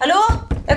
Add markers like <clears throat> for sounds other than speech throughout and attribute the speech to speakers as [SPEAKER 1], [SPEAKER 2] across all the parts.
[SPEAKER 1] Hallo? Jeg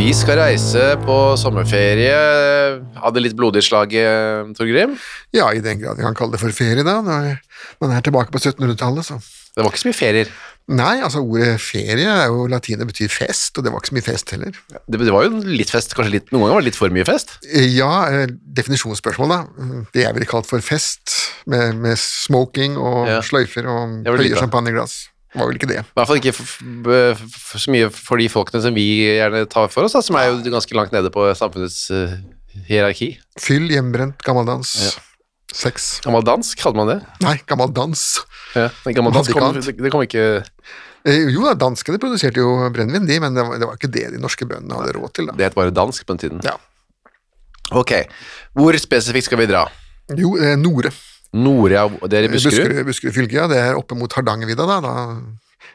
[SPEAKER 2] Vi skal reise på sommerferie. Hadde litt blodig slag, eh, Torgrim.
[SPEAKER 3] Ja, i den grad jeg kan kalle det for ferie, da, når man er tilbake på 1700-tallet, så
[SPEAKER 2] Det var ikke så mye ferier.
[SPEAKER 3] Nei, altså ordet ferie er jo latinet betyr fest, og det var ikke så mye fest heller.
[SPEAKER 2] Det, det var jo litt fest, kanskje litt, noen ganger var det litt for mye fest.
[SPEAKER 3] Eh, Ja, eh, definisjonsspørsmål, da. Det jeg ville kalt for fest, med, med smoking og
[SPEAKER 2] Ja.
[SPEAKER 3] sløyfer og
[SPEAKER 2] Det var litt
[SPEAKER 3] høye
[SPEAKER 2] bra.
[SPEAKER 3] champagneglass. Det var vel ikke det.
[SPEAKER 2] I hvert fall ikke f b- f så mye for de folkene som vi gjerne tar for oss, da, som er jo ganske langt nede på samfunnets eh, hierarki.
[SPEAKER 3] Fyll, hjemmebrent, gammeldans, sex.
[SPEAKER 2] Gammel dansk, hadde man det?
[SPEAKER 3] Nei, gammeldans.
[SPEAKER 2] Ja, men gammel
[SPEAKER 3] Hadde
[SPEAKER 2] dansk
[SPEAKER 3] ikke
[SPEAKER 2] kom,
[SPEAKER 3] annet.
[SPEAKER 2] det, det kom ikke
[SPEAKER 3] Eh, Jo da, danskene produserte jo brennevin, de, men det var, det var ikke det de norske bøndene hadde råd til, da.
[SPEAKER 2] Det het bare dansk på den tiden.
[SPEAKER 3] Ja.
[SPEAKER 2] Ok. Hvor spesifikt skal vi dra?
[SPEAKER 3] Jo, eh, Nore.
[SPEAKER 2] Norea, det er i Buskerud?
[SPEAKER 3] Buskerud, Buskerud fylke, ja. Det er oppe mot Hardangervidda, da. da.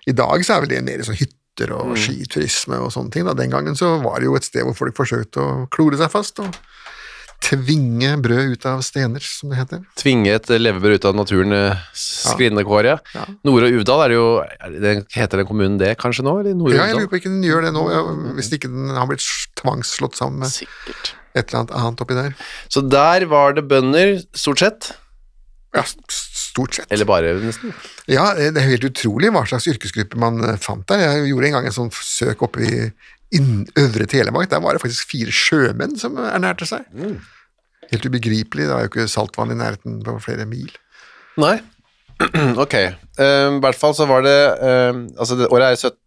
[SPEAKER 3] I dag så er vel det mer sånn hytter og skiturisme og sånne ting. Da. Den gangen så var det jo et sted hvor folk forsøkte å klore seg fast og tvinge brød ut av stener, som det heter.
[SPEAKER 2] tvinge et levebrød ut av naturen eh, skrinne kår, ja.
[SPEAKER 3] Ja.
[SPEAKER 2] Nore og Uvdal er det jo er det, Heter den kommunen det kanskje nå? Eller Nore
[SPEAKER 3] Ja, jeg lurer
[SPEAKER 2] Uvdal?
[SPEAKER 3] på ikke den gjør det nå, ja, hvis ikke den har blitt tvangsslått sammen med
[SPEAKER 2] Sikkert.
[SPEAKER 3] et eller annet annet oppi der.
[SPEAKER 2] Så der var det bønder, stort sett.
[SPEAKER 3] Ja, s- stort sett.
[SPEAKER 2] Eller bare, nesten.
[SPEAKER 3] Ja, eh, det er helt utrolig hva slags yrkesgruppe man eh, fant der. Jeg gjorde en gang en sånn søk oppe i inn, Øvre Telemark. Der var det faktisk fire sjømenn som ernærte seg.
[SPEAKER 2] Mm.
[SPEAKER 3] Helt ubegripelig. Det var jo ikke saltvann i nærheten på flere mil.
[SPEAKER 2] Nei. <clears throat> ok. Ehm, I hvert fall så var det ehm, Altså, det, året er 17.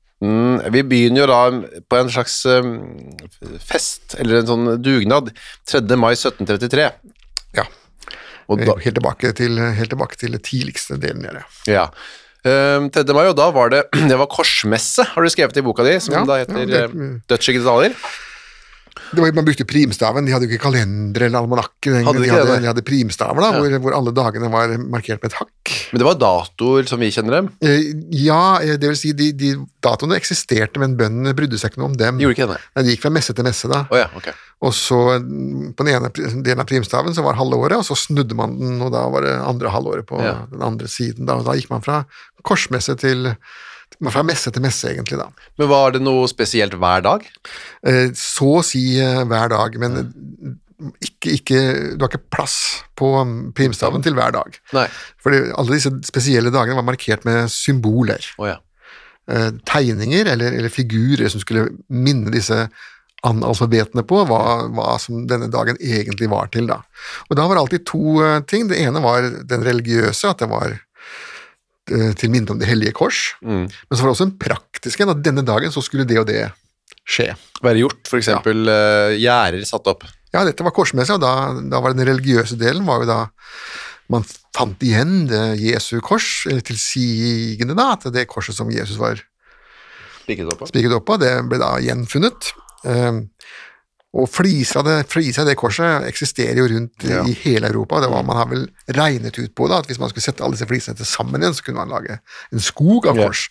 [SPEAKER 2] Vi begynner jo da på en slags ehm, fest, eller en sånn dugnad, 3. mai 1733.
[SPEAKER 3] Ja.
[SPEAKER 2] Og da,
[SPEAKER 3] Helt tilbake til, helt tilbake til det tidligste delen der, ja.
[SPEAKER 2] Ja. Ehm, 3. mai, og da var det <clears throat> Det var korsmesse, har du skrevet i boka di, som
[SPEAKER 3] Ja,
[SPEAKER 2] da heter
[SPEAKER 3] ja,
[SPEAKER 2] ja,
[SPEAKER 3] det-
[SPEAKER 2] Dødsskyggens daler.
[SPEAKER 3] Det var, man brukte primstaven. De hadde jo ikke kalender eller almanakker. den
[SPEAKER 2] Hadde
[SPEAKER 3] gangen.
[SPEAKER 2] de
[SPEAKER 3] De
[SPEAKER 2] ikke det,
[SPEAKER 3] hadde,
[SPEAKER 2] nei?
[SPEAKER 3] de hadde primstaver, da, hvor, hvor alle dagene var markert med et hakk.
[SPEAKER 2] Men det var datoer som vi kjenner dem.
[SPEAKER 3] Eh, Ja, eh, det vil si, de, de datoene eksisterte, men bøndene brydde seg ikke noe om dem.
[SPEAKER 2] De gjorde ikke det, nei.
[SPEAKER 3] Nei, de gikk fra messe til messe, da.
[SPEAKER 2] Å ja, ok.
[SPEAKER 3] Og så mm, på den ene pri- delen av primstaven så var halve året, og så snudde man den, og da var det andre halvåret på
[SPEAKER 2] Ja.
[SPEAKER 3] den andre siden. Da, og da gikk man fra korsmesse til man Fra messe til messe, egentlig, da.
[SPEAKER 2] Men var det noe spesielt hver dag?
[SPEAKER 3] Eh, Så å si eh, hver dag, men ikke, ikke, du har ikke plass på mm, primstaven til hver dag.
[SPEAKER 2] Nei.
[SPEAKER 3] Fordi alle disse spesielle dagene var markert med symboler.
[SPEAKER 2] Å ja.
[SPEAKER 3] eh, tegninger eller, eller figurer som skulle minne disse analfabetene på hva, hva som denne dagen egentlig var til. Da. Og da var det alltid to eh, ting. Det ene var den religiøse, at det var eh, til minne om Det hellige kors. Men så var det også en praktisk en, at denne dagen så skulle det og det skje.
[SPEAKER 2] Være gjort, for eksempel eh, gjerder satt opp.
[SPEAKER 3] Ja, dette var korsmessig, og da, da var den religiøse delen var jo da man fant igjen det Jesu kors, eh, tilsigende da, at det korset som Jesus var
[SPEAKER 2] Spikret opp på.
[SPEAKER 3] spikret opp av, det ble da gjenfunnet. Eh, Og flisa det, flisa det korset eksisterer jo rundt i-
[SPEAKER 2] Ja.
[SPEAKER 3] i hele Europa. Det var, man har vel regnet ut på det, at hvis man skulle sette alle disse flisene til sammen igjen, så kunne man lage en skog av
[SPEAKER 2] Ja.
[SPEAKER 3] kors.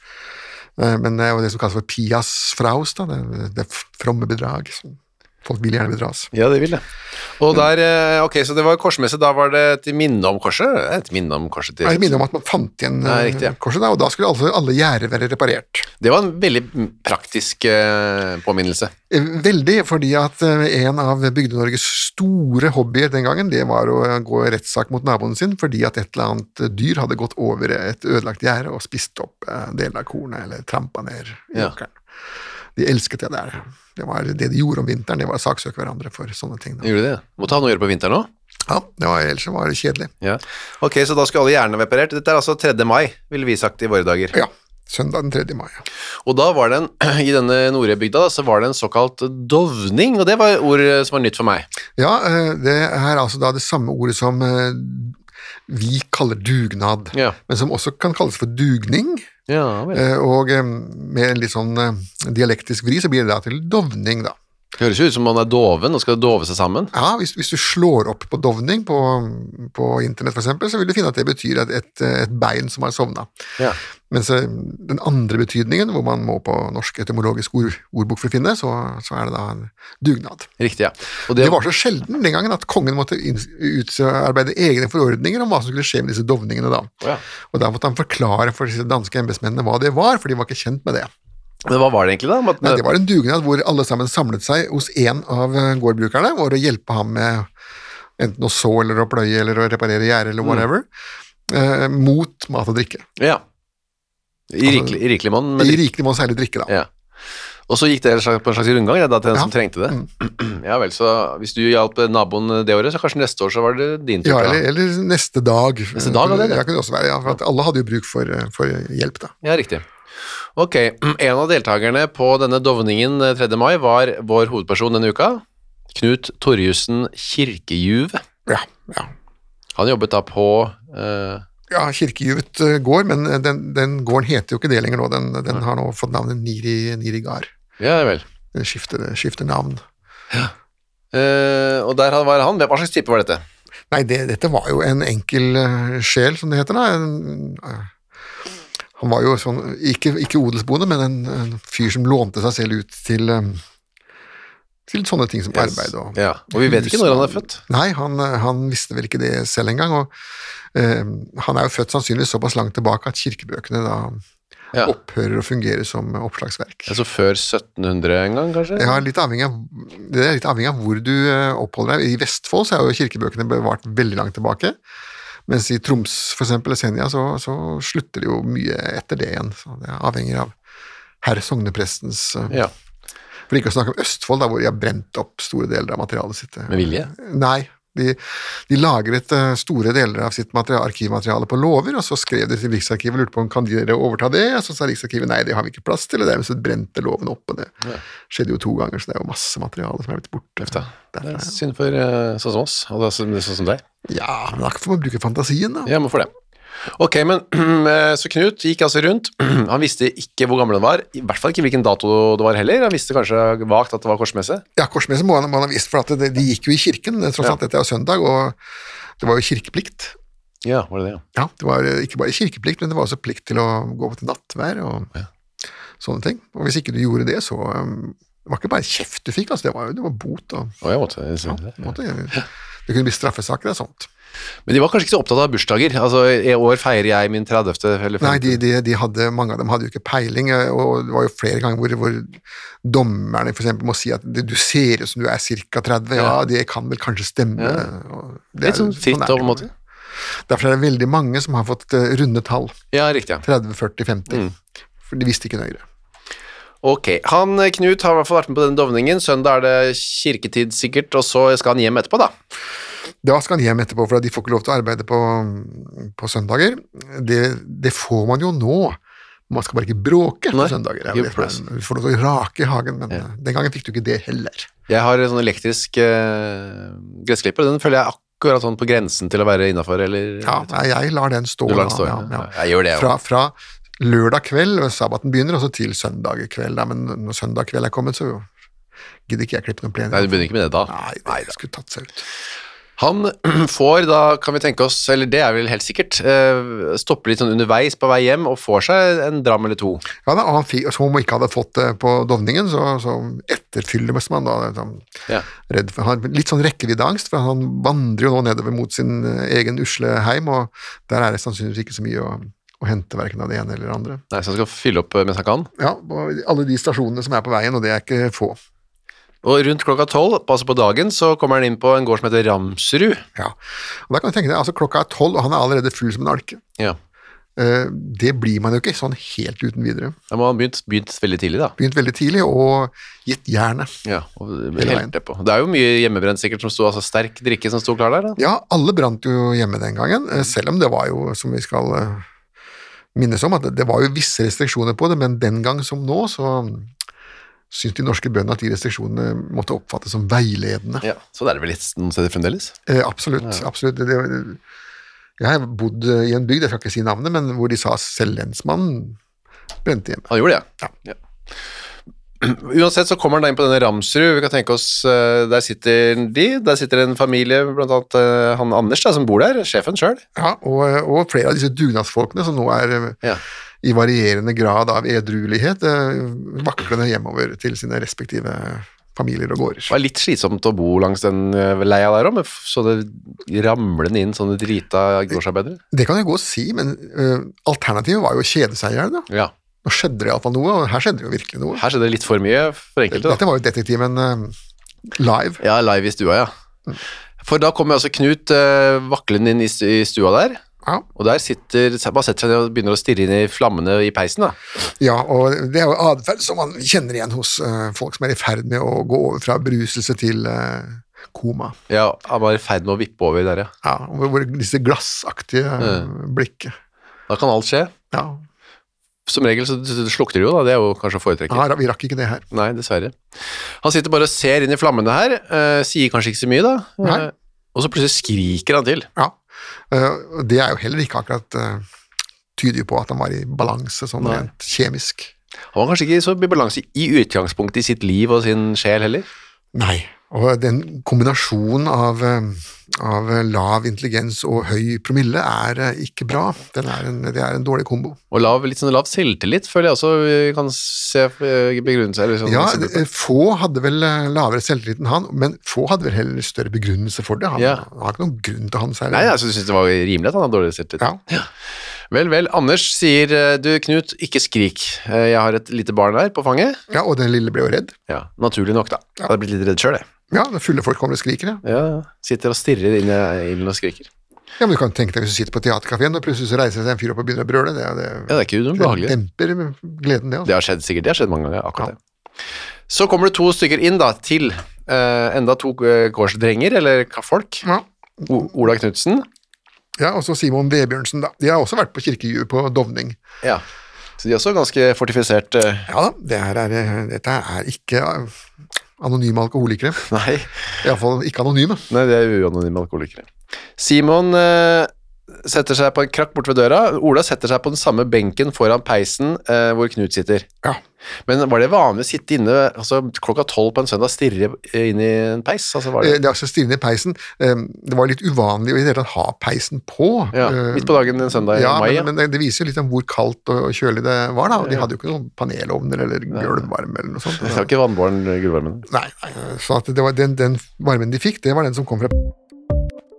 [SPEAKER 3] Eh, Men det er jo det som kalles for pias fraus, da, det, det fromme bedrag. som Folk vil gjerne bedras.
[SPEAKER 2] Ja, det vil jeg. Og der, eh, ok, så det var korsmesse, da var det til minne om korset? Det er Et minne om korset til
[SPEAKER 3] Jeg minner om at man fant igjen
[SPEAKER 2] Ja,
[SPEAKER 3] eh,
[SPEAKER 2] riktig, ja.
[SPEAKER 3] korset, da, og da skulle altså alle gjerder være reparert.
[SPEAKER 2] Det var en veldig praktisk eh, påminnelse.
[SPEAKER 3] Eh, Veldig, fordi at eh, en av Bygde-Norges store hobbyer den gangen, det var å eh, gå i rettssak mot naboen sin fordi at et eller annet eh, dyr hadde gått over et ødelagt gjerde og spist opp eh, deler av kornet eller trampa ned i
[SPEAKER 2] Ja.
[SPEAKER 3] åkeren. De elsket det der. Det var det de gjorde om vinteren, det var å saksøke hverandre for sånne ting. Da.
[SPEAKER 2] Gjorde det? Måtte ha noe å gjøre på vinteren òg.
[SPEAKER 3] Ja, det var, ellers så var det kjedelig.
[SPEAKER 2] Ja. Ok, så da skulle alle hjernene være reparert. Dette er altså 3. mai, ville vi sagt i våre dager.
[SPEAKER 3] Ja, søndag den 3. mai. ja.
[SPEAKER 2] Og da var det en, <clears throat> i denne Norøybygda, da, så var det en såkalt dovning, og det var ord eh, som var nytt for meg.
[SPEAKER 3] Ja, eh, det er altså da det samme ordet som eh, vi kaller dugnad,
[SPEAKER 2] Ja.
[SPEAKER 3] men som også kan kalles for dugning.
[SPEAKER 2] Ja, vel.
[SPEAKER 3] Eh, Og eh, med en litt sånn eh, dialektisk vri, så blir det da til dovning, da.
[SPEAKER 2] Det høres jo ut som man er doven og skal dove seg sammen.
[SPEAKER 3] Ja, hvis, hvis du slår opp på dovning på, på internett, for eksempel, så vil du finne at det betyr et, et, et bein som har sovna.
[SPEAKER 2] Ja.
[SPEAKER 3] Mens eh, den andre betydningen, hvor man må på norsk etymologisk ord, ordbok for å finne, så, så er det da en dugnad.
[SPEAKER 2] Riktig, ja. Og
[SPEAKER 3] Det
[SPEAKER 2] det,
[SPEAKER 3] var så sjelden den gangen at kongen måtte inn- utarbeide egne forordninger om hva som skulle skje med disse dovningene, da.
[SPEAKER 2] Ja.
[SPEAKER 3] Og da måtte han forklare for disse danske embetsmennene hva det var, for de var ikke kjent med det.
[SPEAKER 2] men hva var det egentlig, da? Om at-
[SPEAKER 3] Nei, det var en dugnad hvor alle sammen samlet seg hos én av eh, gårdbrukerne for å hjelpe ham med enten å så eller å pløye eller å reparere
[SPEAKER 2] Mm.
[SPEAKER 3] gjerde eller whatever, eh, mot mat og drikke.
[SPEAKER 2] Ja. I rikelig, i rikelig mann, men
[SPEAKER 3] Altså- I rikelig må særlig drikke, da.
[SPEAKER 2] Ja. Og så gikk det en slags- på en slags rundgang, ja, da, til den
[SPEAKER 3] Ja. Mm.
[SPEAKER 2] som trengte det. <clears throat> Ja vel, så hvis du hjalp naboen det året, så kanskje neste år så var det din tur.
[SPEAKER 3] Ja,
[SPEAKER 2] da.
[SPEAKER 3] eller, eller neste dag.
[SPEAKER 2] Neste dag var det det.
[SPEAKER 3] Ja, kunne det også være, ja, for at alle hadde jo bruk for, eh, for hjelp, da.
[SPEAKER 2] ja riktig. Ok, <clears throat> en av deltakerne på denne dovningen eh, 3. mai var vår hovedperson denne uka, Knut Torjussen Kirkejuve.
[SPEAKER 3] Ja, ja.
[SPEAKER 2] Han jobbet da på eh,
[SPEAKER 3] ja Kirkejuvet eh, gård, men eh, den, den gården heter jo ikke det lenger nå. Den, den har nå fått navnet Niri, Niri Gard.
[SPEAKER 2] Ja vel.
[SPEAKER 3] Den skifter, skifter navn.
[SPEAKER 2] Eh, og der han var han. Hva slags type var dette?
[SPEAKER 3] Nei, det, dette var jo en enkel eh, sjel, som det heter da. En, eh, han var jo sånn, ikke, ikke odelsbonde, men en, en fyr som lånte seg selv ut til, eh, til sånne ting som arbeid og
[SPEAKER 2] Ja, Og vi vet ikke når han er født.
[SPEAKER 3] Nei, han, eh, han visste vel ikke det selv engang. Og eh, han er jo født sannsynligvis såpass langt tilbake at kirkebøkene da
[SPEAKER 2] Ja.
[SPEAKER 3] opphører å fungere som oppslagsverk.
[SPEAKER 2] Altså før 1700 en gang, kanskje?
[SPEAKER 3] Ja, litt avhengig av, det er litt avhengig av hvor du eh, oppholder deg. I Vestfold så er jo kirkebøkene bevart veldig langt tilbake, mens i Troms for eksempel, eller Senja, så, så slutter det jo mye etter det igjen. Så det avhenger av herr sogneprestens eh,
[SPEAKER 2] Ja.
[SPEAKER 3] For ikke å snakke om Østfold, da, hvor de har brent opp store deler av materialet sitt. eh.
[SPEAKER 2] Med vilje?
[SPEAKER 3] Nei. De, de lagret eh, store deler av sitt materia- arkivmateriale på låver, og så skrev de til Riksarkivet og lurte på om kan dere overta det, og så sa Riksarkivet nei, det har vi ikke plass til, og dermed så brente låven opp, og det skjedde jo to ganger, så det er jo masse materiale som er blitt borte.
[SPEAKER 2] Løfta. Det er
[SPEAKER 3] Derfra, ja.
[SPEAKER 2] synd for eh, sånn som oss, og det er synd- sånn som deg.
[SPEAKER 3] ja, men da får man bruke fantasien, da.
[SPEAKER 2] Ja, men for det. Ok, men <clears throat> eh, så Knut gikk altså rundt. <clears throat> Han visste ikke hvor gammel han var, i hvert fall ikke hvilken dato det var heller. Han visste kanskje vagt at det var korsmesse.
[SPEAKER 3] Ja, korsmesse må man må man ha visst, for at det, de gikk jo i kirken, eh, tross
[SPEAKER 2] Ja.
[SPEAKER 3] alt dette er jo søndag, og det var jo kirkeplikt.
[SPEAKER 2] Ja, var det det? ja?
[SPEAKER 3] Ja, det var eh, ikke bare kirkeplikt, men det var også plikt til å gå til nattvær og sånne ting. Og hvis ikke du gjorde det, så um, det var ikke bare kjeft du fikk, altså, det var jo det var bot og
[SPEAKER 2] Å, jeg måtte, jeg
[SPEAKER 3] ja,
[SPEAKER 2] synes
[SPEAKER 3] på
[SPEAKER 2] det.
[SPEAKER 3] en måte, Det kunne bli straffesaker og sånt.
[SPEAKER 2] Men de var kanskje ikke så opptatt av bursdager. Altså, i år feirer jeg min 30. eller
[SPEAKER 3] Nei,
[SPEAKER 2] 50.
[SPEAKER 3] de, de, de hadde, mange av dem hadde jo ikke peiling, eh, og det var jo flere ganger hvor, hvor dommerne for eksempel må si at du ser ut som du er ca. 30, ja,
[SPEAKER 2] Ja.
[SPEAKER 3] det kan vel kanskje stemme.
[SPEAKER 2] Ja.
[SPEAKER 3] og det
[SPEAKER 2] Litt
[SPEAKER 3] er jo-
[SPEAKER 2] sånn fritt
[SPEAKER 3] er
[SPEAKER 2] da, på
[SPEAKER 3] det
[SPEAKER 2] en
[SPEAKER 3] jo.
[SPEAKER 2] måte.
[SPEAKER 3] Derfor er det veldig mange som har fått eh, runde tall,
[SPEAKER 2] Ja, riktig. ja.
[SPEAKER 3] 30, 40,
[SPEAKER 2] Mm.
[SPEAKER 3] 50, for de visste ikke nøyere.
[SPEAKER 2] Ok, han eh, Knut har i hvert fall vært med på denne dovningen. Søndag er det kirketid sikkert, og så skal han hjem etterpå, da.
[SPEAKER 3] Da skal han hjem etterpå, for de får ikke lov til å arbeide på, på søndager. Det, det får man jo nå. Man skal bare ikke bråke
[SPEAKER 2] Nei,
[SPEAKER 3] på søndager.
[SPEAKER 2] ikke
[SPEAKER 3] Det er jo det som er- Du får lov til å rake i hagen, men eh, den gangen fikk du ikke det heller.
[SPEAKER 2] Jeg har en sånn elektrisk eh, gressklipper, og den føler jeg akkurat sånn på grensen til å være innafor, eller
[SPEAKER 3] Ja, nei, jeg lar den stå.
[SPEAKER 2] Du lar den
[SPEAKER 3] da,
[SPEAKER 2] stå, ja. Jeg gjør det, jeg
[SPEAKER 3] fra, fra lørdag kveld, og sabbaten begynner, og så til søndag kveld. Da. Men når søndag kveld er kommet, så Gidder ikke jeg klippe den plenen.
[SPEAKER 2] Nei, du begynner ikke med det da.
[SPEAKER 3] Nei, det jeg skulle tatt seg ut.
[SPEAKER 2] Han <clears throat> får, da kan vi tenke oss, eller det er vel helt sikkert, eh, stopper litt sånn underveis på vei hjem og får seg en dram eller to.
[SPEAKER 3] Ja, da, og han fikk, Som om han ikke hadde fått det på Dovningen, så, så etterfyller Møssmann da. Liksom,
[SPEAKER 2] Ja.
[SPEAKER 3] redd for, har litt sånn rekkeviddeangst, for han vandrer jo nå nedover mot sin eh, egen usle heim, og der er det sannsynligvis ikke så mye å, å hente, verken av det ene eller det andre.
[SPEAKER 2] Nei, så han skal fylle opp eh, mens han kan.
[SPEAKER 3] Ja, og alle de stasjonene som er på veien, og det er ikke få.
[SPEAKER 2] Og rundt klokka tolv, altså på dagen, så kommer han inn på en gård som heter Ramsrud.
[SPEAKER 3] Ja. Og da kan du tenke deg, altså Klokka er tolv, og han er allerede full som en alke.
[SPEAKER 2] Ja.
[SPEAKER 3] Eh, Det blir man jo ikke sånn helt uten videre.
[SPEAKER 2] Da må han begynt, begynt veldig tidlig, da.
[SPEAKER 3] Begynt veldig tidlig, og gitt jernet.
[SPEAKER 2] Ja, og
[SPEAKER 3] veien.
[SPEAKER 2] helt det på. Det er jo mye hjemmebrent sikkert som sto, altså sterk drikke som sto klar der, da.
[SPEAKER 3] Ja, alle brant jo hjemme den gangen, eh, selv om det var jo, som vi skal eh, minnes om, at det- det var jo visse restriksjoner på det, men den gang som nå, så mm, syntes de norske bøndene at de restriksjonene måtte oppfattes som veiledende.
[SPEAKER 2] Ja, så det er det vel litt noen steder fremdeles.
[SPEAKER 3] Eh, absolutt. absolutt. Det, det, jeg har bodd eh, i en bygd, jeg skal ikke si navnet, men hvor de sa selv lensmannen brente hjemme.
[SPEAKER 2] Han gjorde det, ja. <clears throat> ja. Uansett så kommer han da inn på denne Ramsrud, vi kan tenke oss, eh, der sitter de, der sitter en familie, blant annet eh, han Anders da, som bor der, sjefen selv.
[SPEAKER 3] Ja, og, eh, og flere av disse dugnadsfolkene som nå er eh,
[SPEAKER 2] Ja.
[SPEAKER 3] i varierende grad av edruelighet, eh, vaklende hjemover til sine respektive familier og gårder.
[SPEAKER 2] Det var litt slitsomt å bo langs den eh, leia der også, med f- så det ramlende inn sånne drita gårdsarbeidere.
[SPEAKER 3] Det kan jeg gå og si, men eh, alternativet var jo å kjede seg i hjel. da.
[SPEAKER 2] Ja,
[SPEAKER 3] Nå skjedde det iallfall noe, og her skjedde det jo virkelig noe.
[SPEAKER 2] her skjedde det litt for mye for enkelte da.
[SPEAKER 3] Dette var jo detektimen eh, live.
[SPEAKER 2] Ja, live i stua, ja. For da kommer altså Knut eh, vaklende inn i stu- i stua der,
[SPEAKER 3] Ja.
[SPEAKER 2] og der sitter, bare setter seg ned og begynner å stirre inn i flammene i peisen da.
[SPEAKER 3] Ja, og det er jo atferd som man kjenner igjen hos eh, folk som er i ferd med å gå over fra beruselse til eh, koma.
[SPEAKER 2] Ja, han var i ferd med å vippe over der, ja.
[SPEAKER 3] Ja, hvor, hvor disse glassaktige eh, blikket.
[SPEAKER 2] Da kan alt skje.
[SPEAKER 3] Ja.
[SPEAKER 2] Som regel så slukter det jo da, det er jo kanskje å foretrekke.
[SPEAKER 3] ja, vi rakk ikke det her.
[SPEAKER 2] Nei, dessverre. Han sitter bare og ser inn i flammene her, eh, sier kanskje ikke så mye da,
[SPEAKER 3] Nei.
[SPEAKER 2] Eh, og så plutselig skriker han til.
[SPEAKER 3] Ja. Eh, og det er jo heller ikke akkurat eh, Tyder jo på at han var i balanse, sånn
[SPEAKER 2] Nei.
[SPEAKER 3] rent kjemisk.
[SPEAKER 2] Han var kanskje ikke så i balanse i utgangspunktet i sitt liv og sin sjel heller.
[SPEAKER 3] Nei. Og den kombinasjonen av, eh, av lav intelligens og høy promille er eh, ikke bra. Den er en, det er en dårlig kombo.
[SPEAKER 2] Og lav, litt sånn lav selvtillit, føler jeg også eh, kan se eh, begrunnelse. Eller sånn,
[SPEAKER 3] Ja,
[SPEAKER 2] eksempel på.
[SPEAKER 3] eh, få hadde vel eh, lavere selvtillit enn han, men få hadde vel heller større begrunnelse for det. Han,
[SPEAKER 2] Ja.
[SPEAKER 3] han har ikke noen grunn til å ha den særlig.
[SPEAKER 2] Nei, jeg synes det var rimelig at han hadde dårlig selvtillit.
[SPEAKER 3] Ja.
[SPEAKER 2] Vel, vel, Anders sier, eh, du Knut, ikke skrik. Eh, Jeg har et lite barn her på fanget.
[SPEAKER 3] ja, og den lille ble jo redd.
[SPEAKER 2] Ja, naturlig nok da. Jeg hadde blitt litt redd selv, jeg.
[SPEAKER 3] Ja, det fulle folk kommer og skriker, ja.
[SPEAKER 2] Ja, sitter og stirrer inn i ilden og skriker.
[SPEAKER 3] ja. Men du kan tenke deg hvis du sitter på teaterkafeen, og plutselig så reiser det seg en fyr opp og begynner å brøle. Det, det,
[SPEAKER 2] Ja, det er ikke
[SPEAKER 3] det
[SPEAKER 2] ubehagelig.
[SPEAKER 3] demper gleden, det. Altså.
[SPEAKER 2] Det har skjedd sikkert, det har skjedd mange ganger, akkurat
[SPEAKER 3] Ja.
[SPEAKER 2] det. Så kommer det to stykker inn da, til eh, enda to eh, gårdsdrenger, eller ka- folk.
[SPEAKER 3] Ja.
[SPEAKER 2] O Ola Knudsen.
[SPEAKER 3] ja, og så Simon Vebjørnsen, da. De har også vært på kirkejul på Dovning.
[SPEAKER 2] Ja. Så de er også ganske fortifisert. eh, <laughs>
[SPEAKER 3] Ja da, det her er, eh, dette er ikke eh, anonyme alkoholikere.
[SPEAKER 2] nei,
[SPEAKER 3] Iallfall ikke anonyme.
[SPEAKER 2] nei, det er uanonyme alkoholikere. Simon eh, setter seg på en krakk bort ved døra. Ola setter seg på den samme benken foran peisen eh, hvor Knut sitter.
[SPEAKER 3] Ja.
[SPEAKER 2] Men var det vanlig å sitte inne altså, klokka tolv på en søndag stirre eh, inn i en peis? Altså, var det...
[SPEAKER 3] Eh, Det er altså stivne i peisen. Eh, Det var litt uvanlig å i det hele tatt ha peisen på.
[SPEAKER 2] Ja,
[SPEAKER 3] Eh,
[SPEAKER 2] midt på dagen en søndag i
[SPEAKER 3] ja,
[SPEAKER 2] mai, ja.
[SPEAKER 3] Men, men det- det viser jo litt om hvor kaldt og og kjølig det var, da. Og de hadde jo ikke noen panelovner eller gulvvarme eller noe sånt.
[SPEAKER 2] Det var ikke vannbåren eh, gullvarmen.
[SPEAKER 3] Nei, nei, eh, så at det var den, den varmen de fikk, det var den som kom fra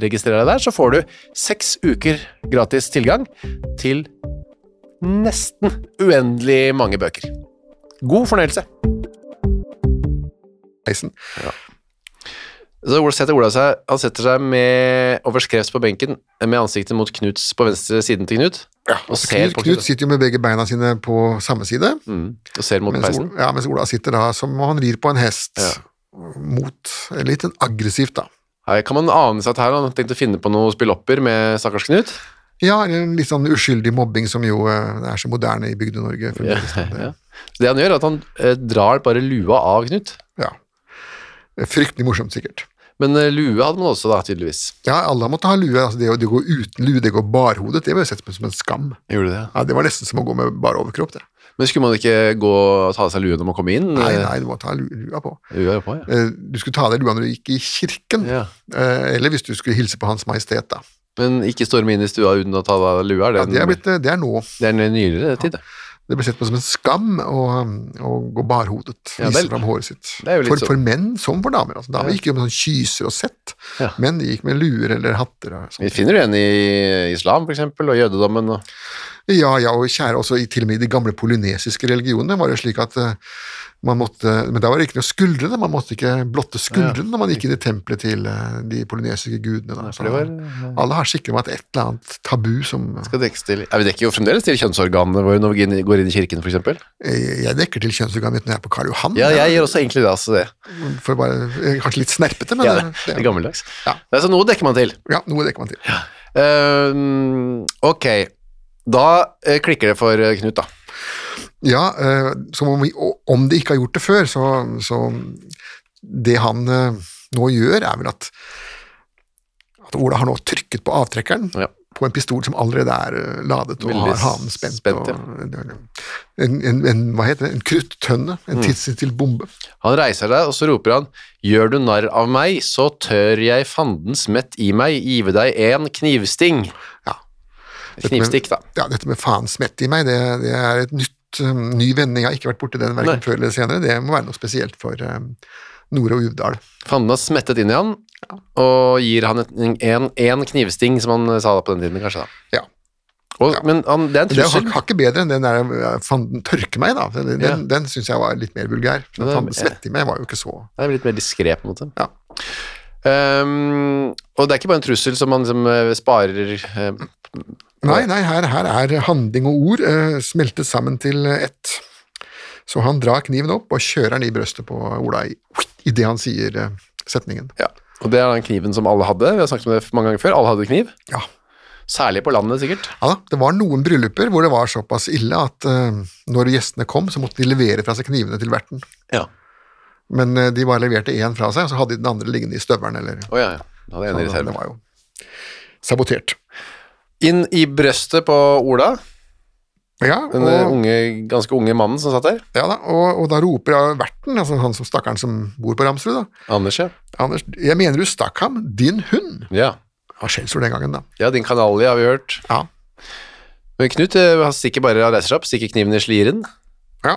[SPEAKER 2] Registrer deg der, så får du seks uker gratis tilgang til nesten uendelig mange bøker. God fornøyelse.
[SPEAKER 3] Heisen.
[SPEAKER 4] Så Ola setter Ola seg, han setter seg med over skrevs på benken, med ansiktet mot Knuts på venstre siden til Knut, og, ser
[SPEAKER 3] Knut,
[SPEAKER 4] på
[SPEAKER 3] Knut
[SPEAKER 4] Knut,
[SPEAKER 3] sitter jo med begge beina sine på samme side,
[SPEAKER 4] Mm, og ser mot
[SPEAKER 3] mens
[SPEAKER 4] peisen.
[SPEAKER 3] Ola, ja, mens Ola sitter da som om han rir på en hest.
[SPEAKER 4] Ja.
[SPEAKER 3] Mot Litt sånn aggressivt, da.
[SPEAKER 4] Her kan man ane seg at her har han tenkt å finne på noen spillopper med stakkars Knut.
[SPEAKER 3] Ja, eller en litt sånn uskyldig mobbing som jo eh, er så moderne i Bygde-Norge.
[SPEAKER 4] Ja,
[SPEAKER 3] fremdeles, da.
[SPEAKER 4] <laughs> ja. Så det han gjør, er at han eh, drar bare lua av Knut.
[SPEAKER 3] Ja. Fryktelig morsomt, sikkert.
[SPEAKER 4] Men eh, lue hadde man også, da, tydeligvis.
[SPEAKER 3] Ja, alle måtte ha lue. Altså, det, å- det å gå uten lue, det å gå barhodet, det ble sett på som en skam.
[SPEAKER 4] Gjorde det,
[SPEAKER 3] Ja, Det var nesten som å gå med bar overkropp, det.
[SPEAKER 4] Men skulle man ikke gå og ta av seg lue når man kom inn?
[SPEAKER 3] Nei, nei, du må ta lu- lua på.
[SPEAKER 4] Lua er på, ja.
[SPEAKER 3] Eh, Du skulle ta av deg lua når du gikk i kirken,
[SPEAKER 4] ja.
[SPEAKER 3] eh, eller hvis du skulle hilse på Hans Majestet, da.
[SPEAKER 4] Men ikke storme inn i stua uten å ta av deg lua? er
[SPEAKER 3] Ja,
[SPEAKER 4] en-
[SPEAKER 3] det, er blitt, eh, det er nå.
[SPEAKER 4] det er en nyere tid, det.
[SPEAKER 3] Det ble sett på som en skam å, um, å gå barhodet,
[SPEAKER 4] Ja,
[SPEAKER 3] vise
[SPEAKER 4] vel.
[SPEAKER 3] fram håret sitt.
[SPEAKER 4] Det er jo litt
[SPEAKER 3] For,
[SPEAKER 4] så-
[SPEAKER 3] for menn som for damer. Altså, damer
[SPEAKER 4] Ja.
[SPEAKER 3] gikk jo med sånn kyser og sett,
[SPEAKER 4] Ja.
[SPEAKER 3] menn gikk med luer eller hatter. Og
[SPEAKER 4] Vi
[SPEAKER 3] sånt.
[SPEAKER 4] finner jo en i islam, for eksempel, og jødedommen. Og...
[SPEAKER 3] ja, ja, og kjære, også i, til og med i de gamle polynesiske religionene var det slik at eh, man måtte, men da var det ikke noe skuldrene, man måtte ikke blotte skuldrene når man gikk inn i tempelet til eh, de polynesiske gudene. Da.
[SPEAKER 4] for det var-
[SPEAKER 3] Så alle har sikkert vært et eller annet tabu som
[SPEAKER 4] Skal dekkes til Ja, Vi dekker jo fremdeles til kjønnsorganene våre når vi går inn- går inn i kirken, f.eks.
[SPEAKER 3] eh, jeg dekker til kjønnsorganet mitt når jeg er på Karl Johan.
[SPEAKER 4] Ja, jeg gjør også egentlig det. Altså det.
[SPEAKER 3] For bare, jeg er kanskje litt snerpete, men
[SPEAKER 4] Ja, det,
[SPEAKER 3] eh,
[SPEAKER 4] det er gammeldags.
[SPEAKER 3] Ja.
[SPEAKER 4] Det er så noe dekker man til.
[SPEAKER 3] ja, noe dekker man til.
[SPEAKER 4] Ehm, ok, da eh, klikker det for eh, Knut, da.
[SPEAKER 3] Ja, eh, som om, vi- og om de ikke har gjort det før, så, så Det han eh, nå gjør, er vel at, at Ola har nå trykket på avtrekkeren
[SPEAKER 4] Ja.
[SPEAKER 3] på en pistol som allerede er eh, ladet og
[SPEAKER 4] Veldig
[SPEAKER 3] har hanen spent.
[SPEAKER 4] spent,
[SPEAKER 3] og,
[SPEAKER 4] ja.
[SPEAKER 3] en, en, en, hva heter det? En kruttønne. En
[SPEAKER 4] Mm.
[SPEAKER 3] tidsinnstilt bombe.
[SPEAKER 4] Han reiser deg, og så roper han Gjør du narr av meg, så tør jeg fandens mett i meg give deg en knivsting.
[SPEAKER 3] Ja.
[SPEAKER 4] Knivstikk, da.
[SPEAKER 3] Ja, dette med faen smett i meg, det, det er et nytt eh, ny vending. Jeg har ikke vært borti den
[SPEAKER 4] Nei.
[SPEAKER 3] verken før eller senere. Det må være noe spesielt for eh, Nore og Uvdal.
[SPEAKER 4] Fanden har smettet inn i han, og gir han et- en, en knivsting, som han eh, sa på den tiden, kanskje. da.
[SPEAKER 3] Ja.
[SPEAKER 4] Og, Men han, det er en
[SPEAKER 3] Det er
[SPEAKER 4] trussel.
[SPEAKER 3] hak- hakket bedre enn den der eh, fanden tørke meg, da. Den,
[SPEAKER 4] Ja.
[SPEAKER 3] den, den syns jeg var litt mer vulgær.
[SPEAKER 4] Ja, det er-
[SPEAKER 3] Fanden svette i meg var jo ikke så
[SPEAKER 4] Det er litt mer diskré, på en måte.
[SPEAKER 3] Ja.
[SPEAKER 4] Ehm, og det er ikke bare en trussel som man liksom, eh, sparer eh,
[SPEAKER 3] Nei, nei, her, her er handling og ord eh, smeltet sammen til eh, ett. Så han drar kniven opp og kjører den i brøstet på Ola i- idet han sier eh, setningen.
[SPEAKER 4] Ja, og det er den kniven som alle hadde. Vi har snakket om det mange ganger før. Alle hadde kniv.
[SPEAKER 3] Ja.
[SPEAKER 2] Særlig på landet, sikkert.
[SPEAKER 3] Ja da, det var noen brylluper hvor det var såpass ille at eh, når gjestene kom, så måtte de levere fra seg knivene til verten.
[SPEAKER 2] Ja.
[SPEAKER 3] Men eh, de bare leverte én fra seg, og så hadde de den andre liggende i støvelen eller
[SPEAKER 2] Å ja, ja. Da hadde jeg en i
[SPEAKER 3] Så
[SPEAKER 2] reserve.
[SPEAKER 3] Det var jo sabotert.
[SPEAKER 2] Inn i brøstet på Ola,
[SPEAKER 3] Ja,
[SPEAKER 2] den
[SPEAKER 4] eh,
[SPEAKER 3] og,
[SPEAKER 2] unge, ganske unge mannen som satt der.
[SPEAKER 3] ja da, og, og da roper jeg verten, altså han som stakkaren som bor på Ramsrud, da.
[SPEAKER 2] Anders, ja.
[SPEAKER 3] Anders, jeg mener du stakk ham, din hund!
[SPEAKER 2] Ja,
[SPEAKER 3] Ja, skjellsord den gangen, da.
[SPEAKER 2] ja din kanalje har vi hørt.
[SPEAKER 3] Ja.
[SPEAKER 2] Men Knut eh, han stikker bare av reiser seg opp, stikker kniven i sliren,
[SPEAKER 3] ja.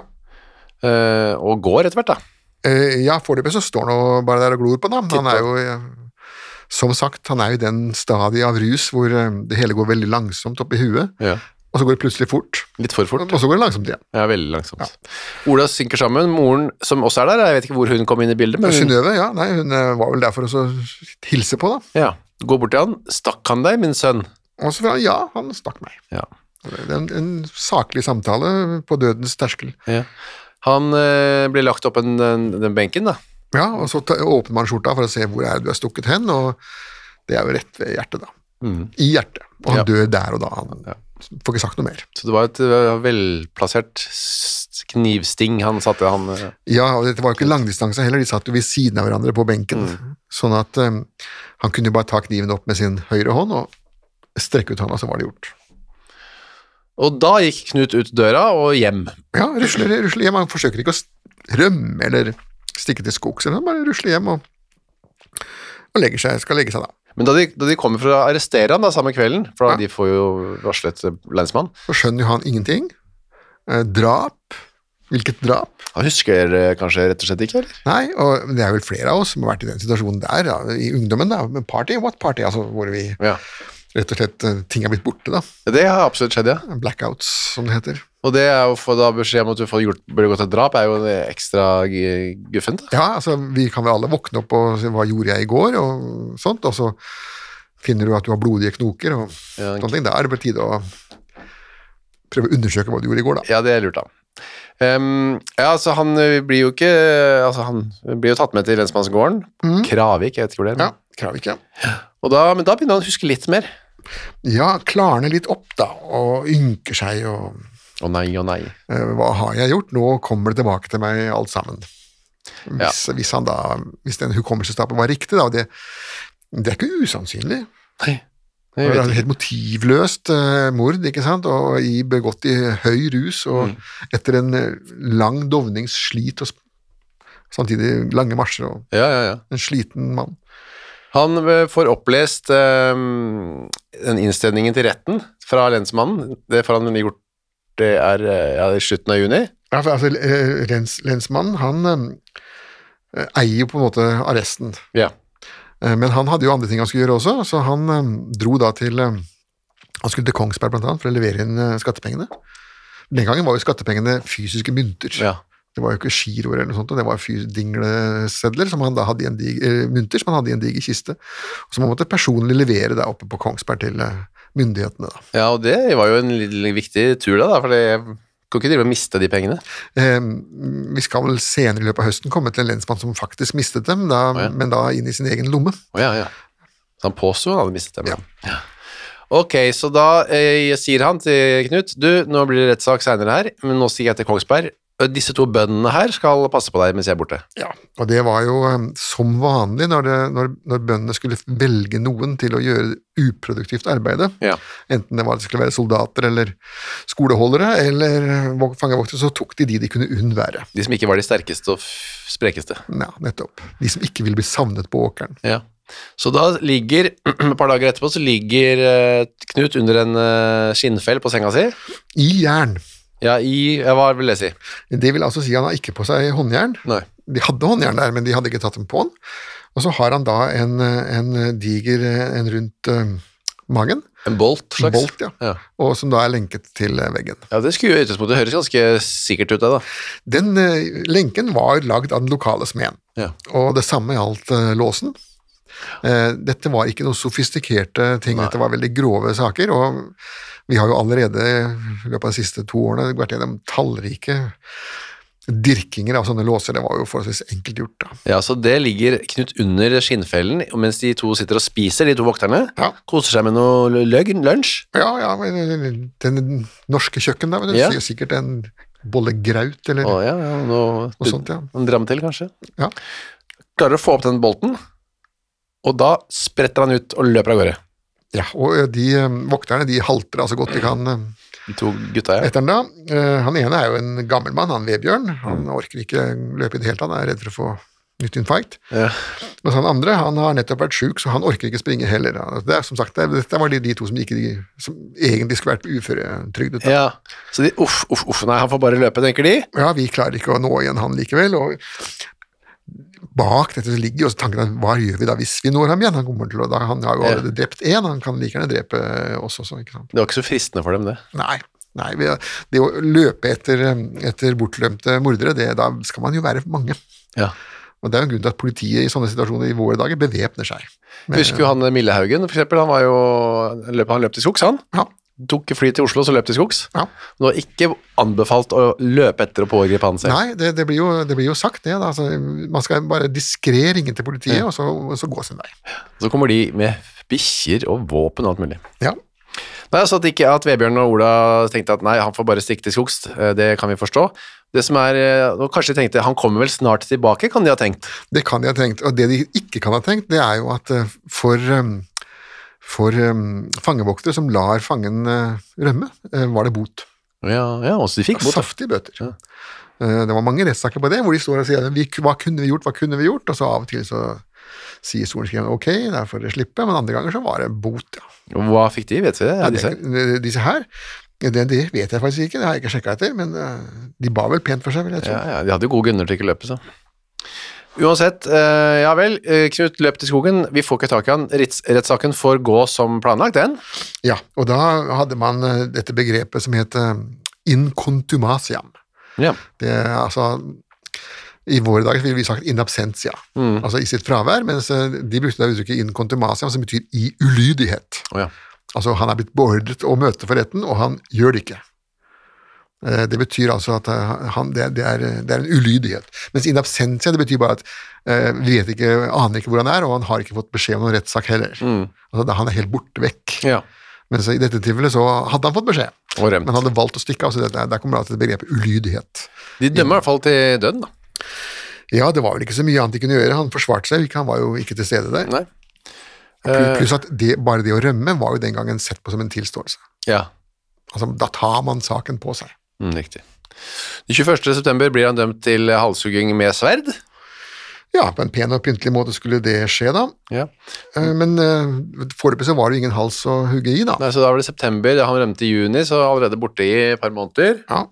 [SPEAKER 2] eh, og går etter hvert, da.
[SPEAKER 3] Eh, ja, foreløpig så står han jo bare der og glor på den. da. Han
[SPEAKER 2] Titt
[SPEAKER 3] er jo, eh, som sagt, han er jo i den stadiet av rus hvor eh, det hele går veldig langsomt opp i huet,
[SPEAKER 2] Ja.
[SPEAKER 3] og så går det plutselig fort,
[SPEAKER 2] Litt for fort.
[SPEAKER 3] og så går det langsomt igjen.
[SPEAKER 2] Ja, veldig langsomt. Ola synker sammen. Moren, som også er der, jeg vet ikke hvor hun kom inn i bildet, men hun
[SPEAKER 3] Synnøve, ja, nei, hun eh, var vel der for å så hilse på, da.
[SPEAKER 2] ja, går bort til han. Stakk han deg, min sønn?
[SPEAKER 3] Og så var han, ja, han stakk meg.
[SPEAKER 2] Ja.
[SPEAKER 3] Det er en, en saklig samtale på dødens terskel.
[SPEAKER 2] Han eh, blir lagt opp en, den, den benken, da.
[SPEAKER 3] Ja, og så ta- åpner man skjorta for å se hvor er det du er stukket hen, og det er jo rett ved hjertet, da. I hjertet. Og han
[SPEAKER 2] Mm. Ja.
[SPEAKER 3] dør der og da. Han får ikke sagt noe mer.
[SPEAKER 2] Så det var et eh, velplassert s- knivsting han satte han eh,
[SPEAKER 3] Ja, og dette var jo ikke langdistanse heller, de satt jo ved siden av hverandre på benken.
[SPEAKER 2] Mm.
[SPEAKER 3] Sånn at eh, han kunne jo bare ta kniven opp med sin høyre hånd og strekke ut hånda, så var det gjort.
[SPEAKER 2] Og da gikk Knut ut døra og hjem.
[SPEAKER 3] Ja, rusler, rusler hjem. Han forsøker ikke å s- rømme eller stikke til skogs, eller han bare rusler hjem og, og legger seg, skal legge seg da.
[SPEAKER 2] Men da de, da de kommer for å arrestere han da, samme kvelden, for da
[SPEAKER 3] Ja.
[SPEAKER 2] de får jo varslet eh, lensmann
[SPEAKER 3] Så skjønner jo han ingenting. Eh, drap. Hvilket drap?
[SPEAKER 2] Han husker eh, kanskje rett og slett ikke, eller?
[SPEAKER 3] Nei, og det er vel flere av oss som har vært i den situasjonen der, da, i ungdommen da, men party, what party, altså hvor vi
[SPEAKER 2] Ja.
[SPEAKER 3] rett og slett, eh, ting har blitt borte da,
[SPEAKER 2] Det har absolutt skjedd, ja.
[SPEAKER 3] blackouts som det heter.
[SPEAKER 2] Og det er å få da beskjed om at du får gjort, burde gått et drap, er jo det ekstra g- guffent. da.
[SPEAKER 3] Ja, altså vi kan vel alle våkne opp og se hva gjorde jeg i går, og sånt, og så finner du at du har blodige knoker og
[SPEAKER 2] Ja,
[SPEAKER 3] sånne ting. Da er det på tide å prøve å undersøke hva du gjorde i går, da.
[SPEAKER 2] Ja, det lurte han. Ehm, ja, altså han ø, blir jo ikke ø, altså Han blir jo tatt med til lensmannsgården. Kravik, jeg vet ikke hvor det er.
[SPEAKER 3] Mhm. Ja,
[SPEAKER 2] men-
[SPEAKER 3] krav ikke.
[SPEAKER 2] Og da, men da begynner han å huske litt mer.
[SPEAKER 3] Ja, klarne litt opp, da, og ynker seg og
[SPEAKER 2] Å nei, å nei.
[SPEAKER 3] eh, hva har jeg gjort? Nå kommer det tilbake til meg alt sammen.
[SPEAKER 2] Ja.
[SPEAKER 3] Hvis, hvis, han da, hvis den hukommelsestappen var riktig, da, og det, det er ikke usannsynlig.
[SPEAKER 2] Nei,
[SPEAKER 3] Det
[SPEAKER 2] jeg vet
[SPEAKER 3] er et
[SPEAKER 2] ikke.
[SPEAKER 3] helt motivløst eh, mord, ikke sant, og i begått i høy rus, og
[SPEAKER 2] Mm.
[SPEAKER 3] etter en eh, lang dovningsslit og sp- samtidig lange marsjer, og
[SPEAKER 2] Ja, ja, ja.
[SPEAKER 3] en sliten mann.
[SPEAKER 2] Han ø, får opplest ø, den innstedningen til retten fra lensmannen. Det får han gjort det er ø, ja, i slutten av juni.
[SPEAKER 3] Ja, for altså, eh, lens, lensmannen, han eh, eier jo på en måte arresten,
[SPEAKER 2] Ja.
[SPEAKER 3] Eh, Men han hadde jo andre ting han skulle gjøre også, så han eh, dro da til eh, Han skulle til Kongsberg blant annet for å levere inn eh, skattepengene. Den gangen var jo skattepengene fysiske mynter.
[SPEAKER 2] ja.
[SPEAKER 3] Det var jo ikke giroer eller noe sånt, og det var fys- dinglesedler som han da hadde i en diger, eh, mynter som han hadde i en diger kiste, og som han måtte personlig levere der oppe på Kongsberg til eh, myndighetene. da.
[SPEAKER 2] Ja, og det var jo en lille viktig tur da, da for jeg kunne ikke drive og miste de pengene.
[SPEAKER 3] Eh, Vi skal vel senere i løpet av høsten komme til en lensmann som faktisk mistet dem, da,
[SPEAKER 2] ja.
[SPEAKER 3] men da inn i sin egen lomme.
[SPEAKER 2] Å ja, ja. Så han påsto han hadde mistet dem. Ja. Ok, så da eh, sier han til Knut, du, nå blir det rettssak senere her, men nå stikker jeg til Kongsberg. Ø, Disse to bøndene her skal passe på deg mens jeg er borte.
[SPEAKER 3] Ja, og det var jo eh, som vanlig når, det, når, når bøndene skulle velge noen til å gjøre uproduktivt arbeide,
[SPEAKER 2] Ja.
[SPEAKER 3] enten det var at det skulle være soldater eller skoleholdere eller vok- fangevoktere, så tok de de de kunne unnvære.
[SPEAKER 2] De som ikke var de sterkeste og f- sprekeste.
[SPEAKER 3] Ja, nettopp. De som ikke ville bli savnet på åkeren.
[SPEAKER 2] Ja. Så da ligger, <clears throat> et par dager etterpå, så ligger eh, Knut under en eh, skinnfell på senga si.
[SPEAKER 3] I jern.
[SPEAKER 2] Ja, i, ja, hva vil det si?
[SPEAKER 3] Det vil altså si han har ikke på seg håndjern.
[SPEAKER 2] Nei.
[SPEAKER 3] De hadde håndjern der, men de hadde ikke tatt dem på han. Og så har han da en, eh, en diger eh, en rundt eh, magen,
[SPEAKER 2] En bolt, slags?
[SPEAKER 3] Bolt, ja.
[SPEAKER 2] ja.
[SPEAKER 3] og som da er lenket til eh, veggen.
[SPEAKER 2] Ja, det skulle jo i utgangspunktet høres ganske sikkert ut, det da.
[SPEAKER 3] Den eh, lenken var lagd av den lokale smeden,
[SPEAKER 2] Ja.
[SPEAKER 3] og det samme gjaldt eh, låsen. Eh, dette var ikke noen sofistikerte ting, dette var veldig grove saker, og vi har jo allerede i løpet av de siste to årene vært gjennom tallrike dirkinger av sånne låser. Det var jo forholdsvis enkelt gjort, da.
[SPEAKER 2] Ja, så det ligger Knut under skinnfellen, og mens de to sitter og spiser, de to vokterne.
[SPEAKER 3] Ja.
[SPEAKER 2] Koser seg med noe løgn, lunsj.
[SPEAKER 3] Ja, ja, men den norske kjøkken der, men du
[SPEAKER 2] Ja.
[SPEAKER 3] sier sikkert en bolle graut eller
[SPEAKER 2] Å ja, ja, noe,
[SPEAKER 3] noe sånt, ja.
[SPEAKER 2] en dram til kanskje.
[SPEAKER 3] Ja.
[SPEAKER 2] Klarer å få opp den bolten, og da spretter han ut og løper av gårde.
[SPEAKER 3] ja. Og eh, de eh, vokterne, de halter altså godt de kan eh,
[SPEAKER 2] De to gutta,
[SPEAKER 3] <laughs>
[SPEAKER 2] ja.
[SPEAKER 3] etter den da. Eh, Han ene er jo en gammel mann, han Vebjørn. Han
[SPEAKER 2] Mm.
[SPEAKER 3] orker ikke løpe i det hele tatt, han er redd for å få nytt infarkt.
[SPEAKER 2] Ja.
[SPEAKER 3] Mens han andre, han har nettopp vært sjuk, så han orker ikke springe heller. Han- Det er som sagt, det, dette var de, de to som, ikke, som egentlig skulle vært uføretrygdet. da.
[SPEAKER 2] Ja, så de, uff, uff, uff, nei, han får bare løpe, tenker de.
[SPEAKER 3] ja, vi klarer ikke å nå igjen han likevel. Og bak dette så ligger jo også tanken at hva gjør vi da hvis vi når ham igjen? Han, kommer til å, da, han har jo allerede drept én, han kan like gjerne drepe oss også, ikke sant.
[SPEAKER 2] Det var ikke så fristende for dem, det.
[SPEAKER 3] Nei. Nei, vi, det å løpe etter, etter bortlømte mordere, det, da skal man jo være mange.
[SPEAKER 2] Ja.
[SPEAKER 3] Og det er jo en grunn til at politiet i sånne situasjoner i våre dager bevæpner seg. Men-
[SPEAKER 2] Husker jo han Millehaugen, for eksempel, han var jo, han løp, han løp til skogs, han.
[SPEAKER 3] Ja,
[SPEAKER 2] Tok fly til Oslo, så løp til skogs.
[SPEAKER 3] ja.
[SPEAKER 2] Det var ikke anbefalt å løpe etter og pågripe han selv.
[SPEAKER 3] Nei, det, det, blir jo, det blir jo sagt, det. Da. Altså, man skal bare diskré ringe til politiet, og så, og så gå sin vei.
[SPEAKER 2] Så kommer de med bikkjer og våpen og alt mulig.
[SPEAKER 3] Ja.
[SPEAKER 2] Nei, altså at ikke at Vebjørn og Ola tenkte at nei, han får bare stikke til skogs, eh, det kan vi forstå. Det som er, eh, og kanskje de tenkte, han kommer vel snart tilbake, kan de ha tenkt.
[SPEAKER 3] Det kan de ha tenkt, og det de ikke kan ha tenkt, det er jo at eh, for, em, for em, fangevoktere som lar fangen eh, rømme, eh, var det bot.
[SPEAKER 2] Ja, ja, også de fikk bot.
[SPEAKER 3] Saftige bøter. Eh, Det var mange rettssaker på det, hvor de står og sier vi, hva kunne vi gjort, hva kunne vi gjort, og så av og til så sier sorenskriveren ok, der får dere slippe, men andre ganger så var det bot, ja.
[SPEAKER 2] Hva fikk de, vet vi det?
[SPEAKER 3] Ja,
[SPEAKER 2] Ja, de
[SPEAKER 3] det,
[SPEAKER 2] selv.
[SPEAKER 3] det- disse her, det, det vet jeg faktisk ikke, det har jeg ikke sjekka etter, men eh, de ba vel pent for seg, vil jeg tro.
[SPEAKER 2] ja, ja, de hadde jo gode grunner til ikke å løpe, så. Uansett, eh, ja vel, eh, Knut løp til skogen, vi får ikke tak i han, Retts- rettssaken får gå som planlagt, den.
[SPEAKER 3] Ja, og da hadde man eh, dette begrepet som het eh, incontumasiam.
[SPEAKER 2] Ja.
[SPEAKER 3] Det er altså I våre dager ville vi sagt in absentia,
[SPEAKER 2] Mm.
[SPEAKER 3] altså i sitt fravær, mens eh, de brukte da uttrykket in contumasiam, som betyr i ulydighet.
[SPEAKER 2] Å ja.
[SPEAKER 3] Altså han er blitt beordret å møte for retten, og han gjør det ikke. Eh, Det betyr altså at eh, han, det, det, er, eh, det er en ulydighet. Mens in absentia det betyr bare at eh, vi vet ikke, aner ikke hvor han er, og han har ikke fått beskjed om noen rettssak heller.
[SPEAKER 2] Mm.
[SPEAKER 3] Altså, da, han er helt borte vekk.
[SPEAKER 2] Ja.
[SPEAKER 3] Men så i dette tilfellet så hadde han fått beskjed,
[SPEAKER 2] Og rømt.
[SPEAKER 3] men han hadde valgt å stikke av. så det- Der kommer da til begrepet ulydighet.
[SPEAKER 2] De dømmer i hvert fall til døden, da.
[SPEAKER 3] Ja, det var vel ikke så mye annet de kunne gjøre. Han forsvarte seg jo ikke, han var jo ikke til stede der.
[SPEAKER 2] Nei.
[SPEAKER 3] Pl- Pluss at det, bare det å rømme var jo den gangen sett på som en tilståelse.
[SPEAKER 2] Ja,
[SPEAKER 3] Altså, da tar man saken på seg.
[SPEAKER 2] mm, riktig. Den 21. september blir han dømt til halshugging med sverd.
[SPEAKER 3] Ja, på en pen og pyntelig måte skulle det skje, da.
[SPEAKER 2] Ja.
[SPEAKER 3] Eh, Men eh, foreløpig så var det jo ingen hals å hugge i, da.
[SPEAKER 2] Nei, så da var det september, han rømte i juni, så allerede borte i et par måneder.
[SPEAKER 3] Ja,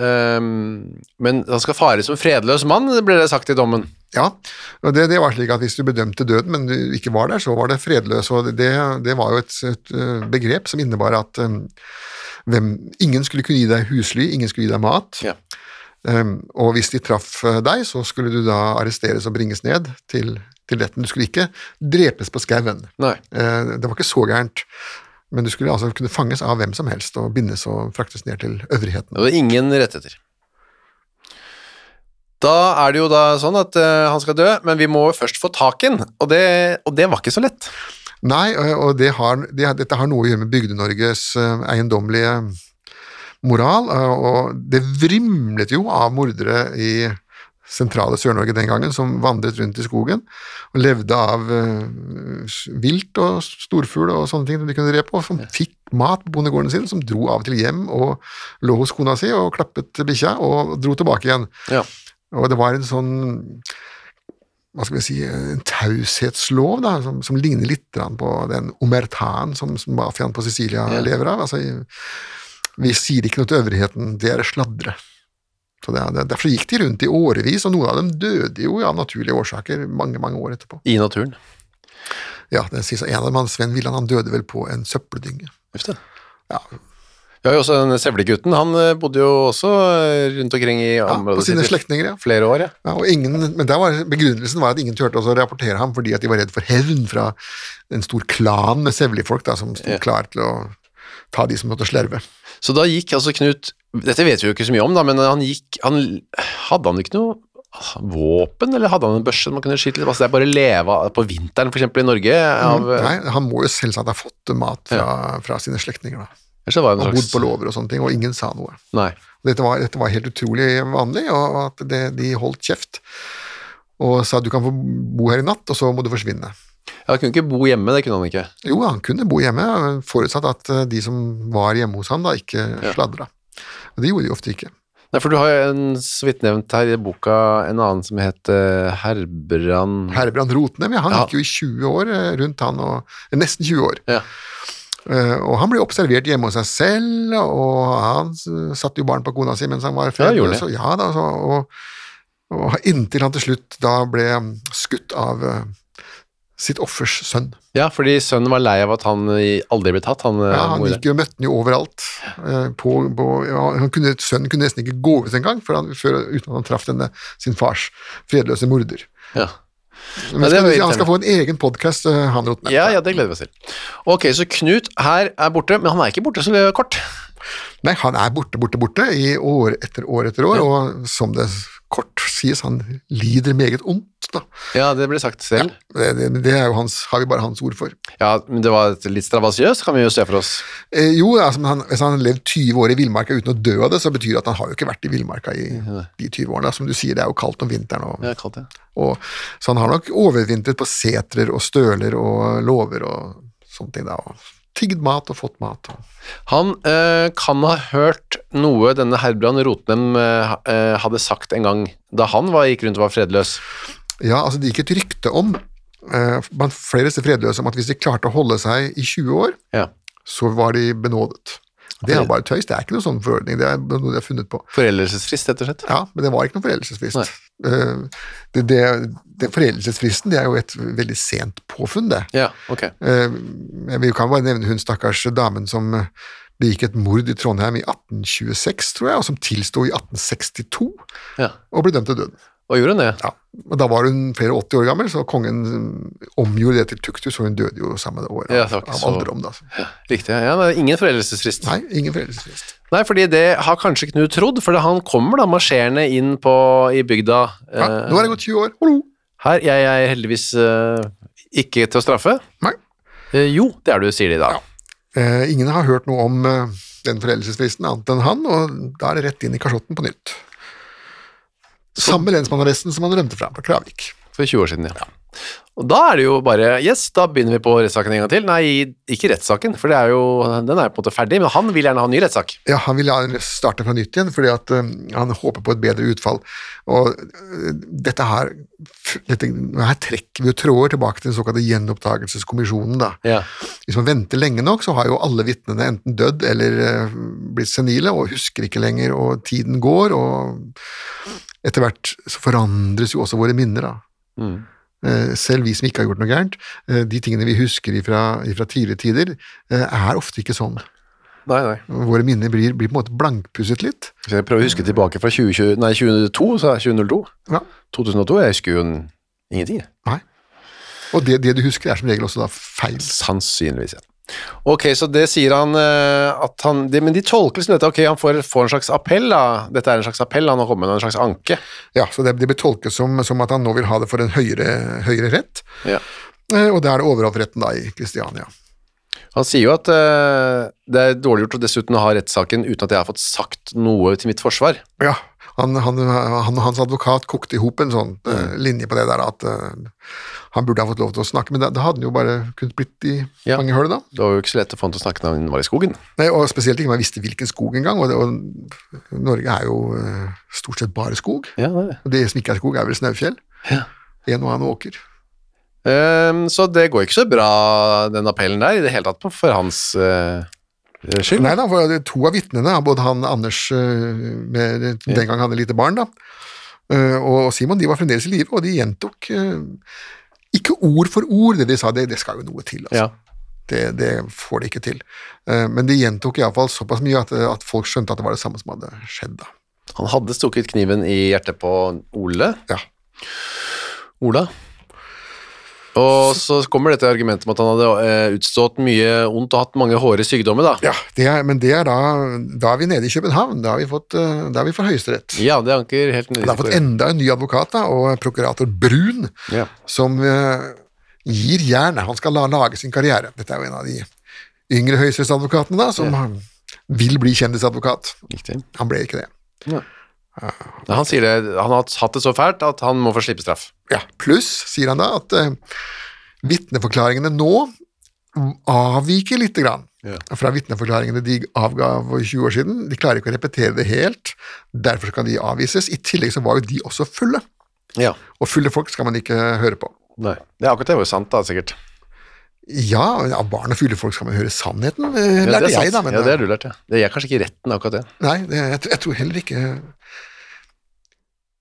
[SPEAKER 2] Ehm, men han skal fare som fredløs mann, ble det sagt i dommen.
[SPEAKER 3] Ja, og det, det var slik at hvis du bedømte døden, men du ikke var der, så var det fredløs, og det, det var jo et, et eh, begrep som innebar at eh, hvem, ingen skulle kunne gi deg husly, ingen skulle gi deg mat,
[SPEAKER 2] Ja.
[SPEAKER 3] Eh, og hvis de traff eh, deg, så skulle du da arresteres og bringes ned til, til retten. Du skulle ikke drepes på skauen.
[SPEAKER 2] Nei.
[SPEAKER 3] Eh, Det var ikke så gærent, men du skulle altså kunne fanges av hvem som helst og bindes og fraktes ned til øvrigheten.
[SPEAKER 2] Og det er ingen rettigheter. Da er det jo da sånn at eh, han skal dø, men vi må jo først få tak i han, og det, og det var ikke så lett.
[SPEAKER 3] Nei, og og det har, det, dette har noe å gjøre med Bygde-Norges eh, eiendommelige moral, eh, og det vrimlet jo av mordere i sentrale Sør-Norge den gangen, som vandret rundt i skogen og levde av eh, s- vilt og storfugl og sånne ting de kunne drepe, og som fikk mat på bondegården sin, som dro av og til hjem og lå hos kona si og klappet bikkja og dro tilbake igjen.
[SPEAKER 2] Ja.
[SPEAKER 3] Og det var en sånn hva skal vi si, en taushetslov da, som, som ligner litt grann på den omertan som, som mafiaen på Sicilia
[SPEAKER 2] Ja.
[SPEAKER 3] lever av. Altså, vi sier ikke noe til øvrigheten, det er sladre. Så det, er- det, er- derfor gikk de rundt i årevis, og noen av dem døde jo av naturlige årsaker mange mange år etterpå.
[SPEAKER 2] I naturen.
[SPEAKER 3] Ja, den siste, En av dem, han Sven Villand, han døde vel på en søppeldynge.
[SPEAKER 2] Uff da.
[SPEAKER 3] Ja,
[SPEAKER 2] Vi har jo også den sevlegutten, han eh, bodde jo også eh, rundt omkring i
[SPEAKER 3] ja,
[SPEAKER 2] området
[SPEAKER 3] på sine
[SPEAKER 2] sitt i
[SPEAKER 3] slektninger, ja.
[SPEAKER 2] Flere år, ja.
[SPEAKER 3] Ja, og ingen, men der var, Begrunnelsen var at ingen turte også å rapportere ham fordi at de var redd for hevn fra en stor klan med sevlige folk da, som sto klar til å ta de som måtte slerve.
[SPEAKER 2] Så da gikk altså Knut Dette vet vi jo ikke så mye om, da, men han gikk han, Hadde han ikke noe ah, våpen, eller hadde han en børse man kunne skyte litt? Altså, det er bare leve av- på vinteren, for eksempel, i Norge. Av,
[SPEAKER 3] Mm,
[SPEAKER 2] eh,
[SPEAKER 3] Nei, han må jo selvsagt ha fått mat fra, fra sine slektninger, da.
[SPEAKER 2] Ellers så var det
[SPEAKER 3] Og
[SPEAKER 2] en
[SPEAKER 3] bodd på
[SPEAKER 2] slags
[SPEAKER 3] låver og sånne ting, og ingen sa noe.
[SPEAKER 2] Nei.
[SPEAKER 3] Dette var, dette var helt utrolig vanlig, og at det, de holdt kjeft og sa du kan få bo her i natt, og så må du forsvinne.
[SPEAKER 2] Ja, Han kunne ikke bo hjemme, det kunne han ikke.
[SPEAKER 3] Jo, han kunne bo hjemme, forutsatt at eh, de som var hjemme hos han da ikke sladra. Og det gjorde de ofte ikke.
[SPEAKER 2] Nei, for du har jo en, så vidt nevnt her i boka en annen som het eh, Herbrand
[SPEAKER 3] Herbrand Rotnem, ja, han
[SPEAKER 2] Ja.
[SPEAKER 3] gikk jo i 20 år eh, rundt han, og, eh, nesten 20 år.
[SPEAKER 2] Ja.
[SPEAKER 3] Eh, Og han ble observert hjemme hos seg selv, og han eh, satte jo barn på kona si mens han var født.
[SPEAKER 2] gjorde det.
[SPEAKER 3] så, ja, da, så, og, og inntil han til slutt da ble mm, skutt av eh, sitt offers sønn.
[SPEAKER 2] Ja, fordi sønnen var lei av at han eh, aldri ble tatt. Han, eh,
[SPEAKER 3] Ja, han
[SPEAKER 2] More.
[SPEAKER 3] gikk jo møtte han jo overalt. eh, På, på, ja, han kunne, sønnen kunne nesten ikke gå ut engang før han, før, uten at han traff denne, sin fars fredløse morder.
[SPEAKER 2] Ja.
[SPEAKER 3] Men
[SPEAKER 2] det var
[SPEAKER 3] skal, vi si, han
[SPEAKER 2] irriterende.
[SPEAKER 3] skal få en egen podkast, han Rotne.
[SPEAKER 2] Ja, ja, det gleder vi oss til. Ok, så Knut her er borte, men han er ikke borte så kort.
[SPEAKER 3] Nei, han er borte, borte, borte i år etter år etter år, og som det kort sies, han lider meget ondt, da.
[SPEAKER 2] Ja, det ble sagt selv.
[SPEAKER 3] Det, det, det er jo hans, har vi bare hans ord for.
[SPEAKER 2] Ja, men det var et litt stravasiøst, kan vi jo se for oss.
[SPEAKER 3] Eh, jo, altså, men han, hvis han har levd 20 år i villmarka uten å dø av det, så betyr det at han har jo ikke vært i villmarka i de 20 årene. Som du sier, det er jo kaldt om vinteren, og,
[SPEAKER 2] Ja, kaldt, ja.
[SPEAKER 3] og, så han har nok overvintret på setrer og støler og låver og sånne ting, da. Og tigd mat og fått mat. Og.
[SPEAKER 2] Han eh, kan ha hørt noe denne Herbrand Rotnem eh, ha- eh, hadde sagt en gang da han var, gikk rundt og var fredløs.
[SPEAKER 3] Ja, altså det gikk et rykte om, eh, blant flere fredløse, om at hvis de klarte å holde seg i 20 år,
[SPEAKER 2] Ja.
[SPEAKER 3] så var de benådet. Det er bare tøys, det er ikke noe sånn forordning, det er noe de har funnet på.
[SPEAKER 2] Foreldelsesfrist, rett og slett.
[SPEAKER 3] Ja, men det var ikke noen foreldelsesfrist. Eh, Det, det, det foreldelsesfristen det er jo et veldig sent påfunn, det.
[SPEAKER 2] Ja, ok.
[SPEAKER 3] Eh, Jeg vil- kan bare nevne hun stakkars damen som eh, begikk et mord i Trondheim i 1826, tror jeg, og som tilsto i 1862
[SPEAKER 2] Ja.
[SPEAKER 3] og ble dømt til døden.
[SPEAKER 2] Og gjorde hun det?
[SPEAKER 3] Ja, og Da var hun flere 80 år gammel, så kongen mm, omgjorde det til tukthus, og hun døde jo samme det året.
[SPEAKER 2] Ja, det var
[SPEAKER 3] av
[SPEAKER 2] ikke
[SPEAKER 3] av
[SPEAKER 2] så-
[SPEAKER 3] alderdom, da.
[SPEAKER 2] Riktig. ja. Ja, men ingen foreldelsesfrist.
[SPEAKER 3] Nei, ingen foreldelsesfrist.
[SPEAKER 2] Nei, fordi det har kanskje Knut trodd, for han kommer da marsjerende inn på, i bygda.
[SPEAKER 3] Ja,
[SPEAKER 2] eh,
[SPEAKER 3] nå er det gått 20 år, hallo!
[SPEAKER 2] Her, jeg er heldigvis eh, ikke til å straffe.
[SPEAKER 3] Nei.
[SPEAKER 2] Eh, jo, det er du, sier de da.
[SPEAKER 3] Eh, ingen har hørt noe om eh, den foreldelsesfristen annet enn han, og da er det rett inn i kasjotten på nytt. Samme lensmannsarresten som han rømte fra, på Kravik.
[SPEAKER 2] For 20 år siden, ja. Og da er det jo bare Yes, da begynner vi på rettssaken en gang til. Nei, ikke rettssaken, for det er jo, den er jo på en måte ferdig, men han vil gjerne ha en ny rettssak.
[SPEAKER 3] Ja, han ville starte fra nytt igjen, fordi at eh, han håper på et bedre utfall. Og eh, dette her, dette, her trekker vi jo tråder tilbake til den såkalte gjenoppdagelseskommisjonen, da.
[SPEAKER 2] Ja.
[SPEAKER 3] Hvis man venter lenge nok, så har jo alle vitnene enten dødd eller eh, blitt senile og husker ikke lenger, og tiden går, og etter hvert så forandres jo også våre minner, da. Eh, Selv vi som ikke har gjort noe gærent, eh, de tingene vi husker ifra, ifra tidligere tider, eh, er ofte ikke sånn.
[SPEAKER 2] Nei, nei.
[SPEAKER 3] Våre minner blir, blir på en måte blankpusset litt.
[SPEAKER 2] Hvis jeg prøver å huske tilbake fra 2020, nei, 2002, så er det 2002.
[SPEAKER 3] Ja.
[SPEAKER 2] 2002, jeg husker jo en- ingenting. jeg.
[SPEAKER 3] Nei. Og det, det du husker, er som regel også da feil.
[SPEAKER 2] Sannsynligvis, ja. Ok, så det sier han eh, at han det, Men de tolker liksom dette, ok, han får, får en slags appell, da. Dette er en slags appell, han har kommet med en slags anke.
[SPEAKER 3] Ja, så det, det blir tolket som, som at han nå vil ha det for en høyere, høyere rett,
[SPEAKER 2] Ja.
[SPEAKER 3] Eh, og det er det overholdretten da i Kristiania.
[SPEAKER 2] Han sier jo at eh, det er dårlig gjort å dessuten ha rettssaken uten at jeg har fått sagt noe til mitt forsvar.
[SPEAKER 3] Ja, han, han, han og hans advokat kokte i hop en sånn eh, linje på det der at eh, han burde ha fått lov til å snakke, men da, da hadde han jo bare kunnet blitt i
[SPEAKER 2] Ja.
[SPEAKER 3] mange høl, da.
[SPEAKER 2] Det var jo ikke så lett å få han til å snakke når han var i skogen.
[SPEAKER 3] Nei, og spesielt ikke man visste hvilken skog engang, og, det- og Norge er jo eh, stort sett bare skog.
[SPEAKER 2] Ja, det er det.
[SPEAKER 3] Og det som ikke er skog, er vel snaufjell. En og annen åker.
[SPEAKER 2] Ehm, så det går ikke så bra, den appellen der, i det hele tatt, på- for hans eh, skyld.
[SPEAKER 3] Nei da, for det- to av vitnene, både han og Anders eh, med, den gang han hadde lite barn, da, eh, og Simon, de var fremdeles i live, og de gjentok eh, ikke ord for ord det de sa, det, det skal jo noe til. altså.
[SPEAKER 2] Ja.
[SPEAKER 3] Det, det får de ikke til. Eh, Men de gjentok iallfall såpass mye at, eh, at folk skjønte at det var det samme som hadde skjedd. da.
[SPEAKER 2] Han hadde stukket kniven i hjertet på Ole.
[SPEAKER 3] Ja.
[SPEAKER 2] Ola. Og så kommer dette argumentet med at han hadde eh, utstått mye ondt og hatt mange hårde sykdommer, da.
[SPEAKER 3] Ja, det er, men det er da Da er vi nede i København. Da har vi fått, eh, da er vi for Høyesterett.
[SPEAKER 2] Ja, det anker helt
[SPEAKER 3] Da har vi fått
[SPEAKER 2] nødvendig.
[SPEAKER 3] enda en ny advokat, da, og prokurator Brun,
[SPEAKER 2] Ja.
[SPEAKER 3] som eh, gir jernet. Han skal la lage sin karriere. Dette er jo en av de yngre høyesterettsadvokatene, da, som han vil bli kjendisadvokat.
[SPEAKER 2] Riktig.
[SPEAKER 3] Han ble ikke det.
[SPEAKER 2] Ja, Han sier det, han har hatt det så fælt at han må få slippe straff.
[SPEAKER 3] Ja, Pluss, sier han da, at uh, vitneforklaringene nå avviker lite grann
[SPEAKER 2] Ja.
[SPEAKER 3] fra vitneforklaringene de avga for 20 år siden. De klarer ikke å repetere det helt, derfor skal de avvises. I tillegg så var jo de også fulle,
[SPEAKER 2] Ja.
[SPEAKER 3] og fulle folk skal man ikke høre på.
[SPEAKER 2] Nei. Det er akkurat det var jo sant, da, sikkert.
[SPEAKER 3] Ja, av barn og fulle folk skal man høre sannheten, eh,
[SPEAKER 2] Ja,
[SPEAKER 3] lærte
[SPEAKER 2] det er sant.
[SPEAKER 3] jeg da. Men, eh,
[SPEAKER 2] ja, det har du lært, ja. Det er kanskje ikke i retten, akkurat det.
[SPEAKER 3] Nei, det, jeg, tror- jeg tror heller ikke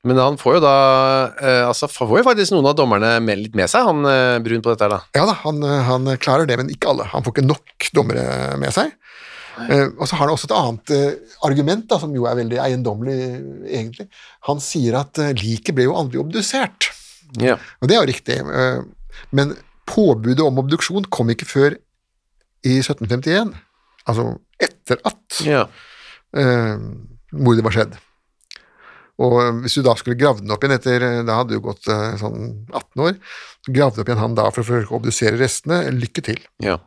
[SPEAKER 2] Men han får jo da eh, altså, han får jo faktisk noen av dommerne med, litt med seg, han eh, Brun, på dette her, da.
[SPEAKER 3] Ja da, han, eh, han klarer det, men ikke alle. Han får ikke nok dommere med seg. Eh, og så har han også et annet eh, argument, da, som jo er veldig eiendommelig, eh, egentlig. Han sier at eh, liket ble jo aldri obdusert.
[SPEAKER 2] Ja.
[SPEAKER 3] Og det er jo riktig, eh, men påbudet om obduksjon kom ikke før i 1751. Altså etter at
[SPEAKER 2] ja.
[SPEAKER 3] eh, mordet var skjedd. Og eh, hvis du da skulle grave den opp igjen etter Da hadde du gått eh, sånn 18 år. Så gravde opp igjen han da for å forsøke å obdusere restene. Lykke til.
[SPEAKER 2] ja.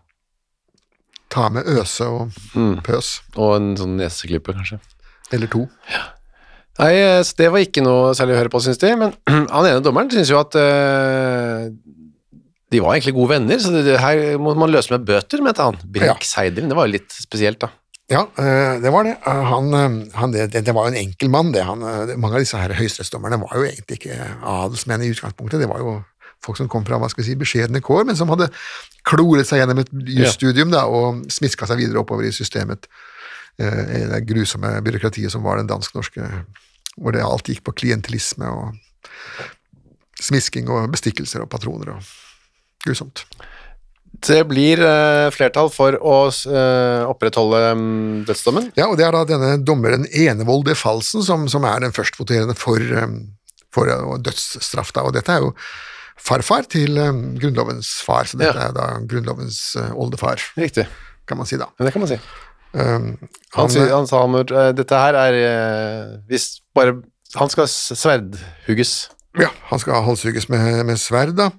[SPEAKER 3] Ta med øse og pøs.
[SPEAKER 2] Og en sånn neseklype, kanskje.
[SPEAKER 3] Eller to.
[SPEAKER 2] Nei, eh, så det var ikke noe særlig å høre på, syns de. Men <clears throat> han ene dommeren syns jo at eh, de var egentlig gode venner, så det, det her må man løse med bøter, mente han.
[SPEAKER 3] Ja.
[SPEAKER 2] Brink Seidelen, det var jo litt spesielt, da.
[SPEAKER 3] Ja, eh, det var det. Eh, Han, eh, han, det, det. Det var jo en enkel mann, det. Han, eh, det- mange av disse her høyesterettsdommerne var jo egentlig ikke adelsmenn i utgangspunktet. Det var jo folk som kom fra hva skal vi si, beskjedne kår, men som hadde kloret seg gjennom et jusstudium da, og smiska seg videre oppover i systemet. eh, i det grusomme byråkratiet som var den dansk-norske, hvor det alt gikk på klientelisme og smisking og bestikkelser og patroner og grusomt.
[SPEAKER 2] Det blir eh, flertall for å eh, opprettholde mm, dødsdommen.
[SPEAKER 3] Ja, og det er da denne dommeren Enevold de Falsen som, som er den førstvoterende for, um, for uh, dødsstraff. Da. Og dette er jo farfar til um, grunnlovens far, så dette
[SPEAKER 2] Ja.
[SPEAKER 3] er da grunnlovens uh, oldefar,
[SPEAKER 2] Riktig.
[SPEAKER 3] kan man si da.
[SPEAKER 2] Ja, det kan man si.
[SPEAKER 3] Um,
[SPEAKER 2] Han,
[SPEAKER 3] han,
[SPEAKER 2] sy- han sa han, eh, dette her er eh, hvis bare Han skal s- sverdhugges.
[SPEAKER 3] ja, han skal halshugges med, med sverd, da.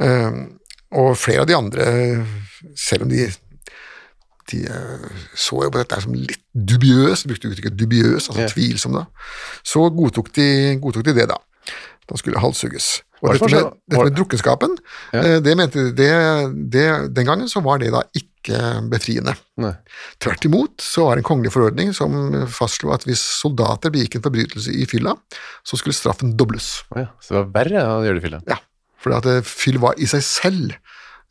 [SPEAKER 3] Um, og flere av de andre, selv om de de eh, så jo på dette her som litt dubiøs, brukte uttrykket dubiøs, altså
[SPEAKER 2] Ja.
[SPEAKER 3] tvilsom, da. Så godtok de, godtok de det, da. Da skulle halshugges. Og
[SPEAKER 2] Hva er det
[SPEAKER 3] dette
[SPEAKER 2] som
[SPEAKER 3] med,
[SPEAKER 2] skjer da?
[SPEAKER 3] dette
[SPEAKER 2] Var-
[SPEAKER 3] med drukkenskapen, eh, det mente de det, det, Den gangen så var det da ikke befriende.
[SPEAKER 2] Nei.
[SPEAKER 3] Tvert imot så var det en kongelig forordning som fastslo at hvis soldater begikk en forbrytelse i fylla, så skulle straffen dobles.
[SPEAKER 2] Å ja. Så det var verre å gjøre det, Fille.
[SPEAKER 3] Ja, fordi at eh, fyll var i seg selv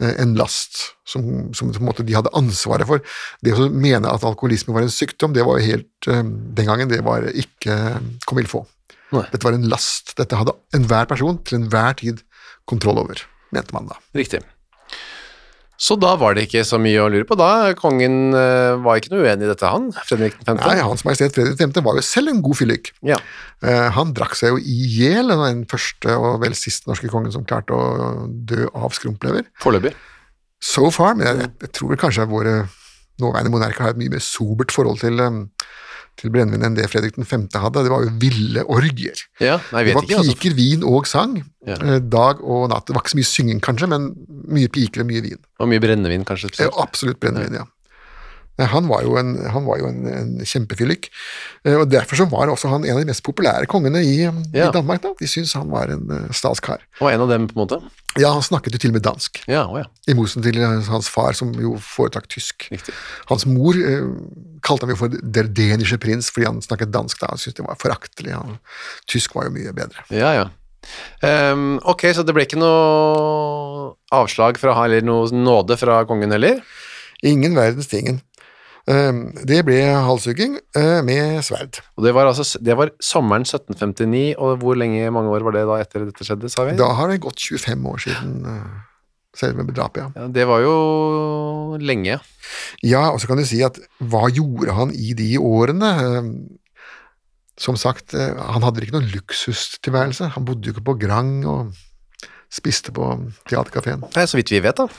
[SPEAKER 3] eh, en last som, som på en måte de hadde ansvaret for. Det å mene at alkoholisme var en sykdom, det var jo helt eh, Den gangen det var ikke eh, kom il få.
[SPEAKER 2] Nei.
[SPEAKER 3] Dette var en last. Dette hadde enhver person til enhver tid kontroll over, mente man da.
[SPEAKER 2] Riktig. Så da var det ikke så mye å lure på. Da kongen eh, var ikke noe uenig i dette, han. Fredrik 5.
[SPEAKER 3] Nei, Hans Majestet Fredrik 5. var jo selv en god fyllik.
[SPEAKER 2] Ja.
[SPEAKER 3] Eh, Han drakk seg jo i hjel, han var den første og vel siste norske kongen som klarte å dø av skrumplever.
[SPEAKER 2] Foreløpig.
[SPEAKER 3] So far, men jeg, jeg, jeg tror vel kanskje våre nåværende monarker har et mye mer sobert forhold til, um, til brennevin enn det Fredrik 5. hadde. Det var jo ville orgier.
[SPEAKER 2] Ja, nei, jeg
[SPEAKER 3] Det
[SPEAKER 2] vet
[SPEAKER 3] var
[SPEAKER 2] ikke. Altså.
[SPEAKER 3] piker, vin og sang.
[SPEAKER 2] Ja.
[SPEAKER 3] eh, Dag og natt. Det var ikke så mye synging, kanskje, men mye piker og mye vin.
[SPEAKER 2] Og mye brennevin, kanskje.
[SPEAKER 3] Eh,
[SPEAKER 2] spesielt.
[SPEAKER 3] Absolutt brennevin, ja. Nei, Han var jo en, han var jo en, en kjempefyllik, Eh, og derfor så var også han en av de mest populære kongene i, um,
[SPEAKER 2] Ja.
[SPEAKER 3] i Danmark. da. De syntes han var en eh, stas kar.
[SPEAKER 2] Og en av dem, på en måte.
[SPEAKER 3] Ja, han snakket jo til og med dansk,
[SPEAKER 2] Ja, å ja.
[SPEAKER 3] i motsetning til eh, hans far, som jo foretrakk tysk.
[SPEAKER 2] Riktig.
[SPEAKER 3] Hans mor eh, kalte ham jo for der denische prins fordi han snakket dansk da, han syntes det var foraktelig. Han, tysk var jo mye bedre.
[SPEAKER 2] Ja, ja. Ehm, ok, så det ble ikke noe avslag fra, eller noe nåde fra kongen heller?
[SPEAKER 3] Ingen verdens tingen. Ehm, det ble halshugging eh, med sverd.
[SPEAKER 2] Og det var, altså, det var sommeren 1759, og hvor lenge, mange år var det da etter dette skjedde, sa vi?
[SPEAKER 3] Da har det gått 25 år siden eh, selve drapet, ja.
[SPEAKER 2] Ja, det var jo lenge.
[SPEAKER 3] Ja, og så kan du si at hva gjorde han i de årene? Ehm, Som sagt, eh, han hadde ikke noen luksustilværelse. Han bodde jo ikke på Grang og spiste på teaterkafeen.
[SPEAKER 2] Nei, så vidt vi vet, da.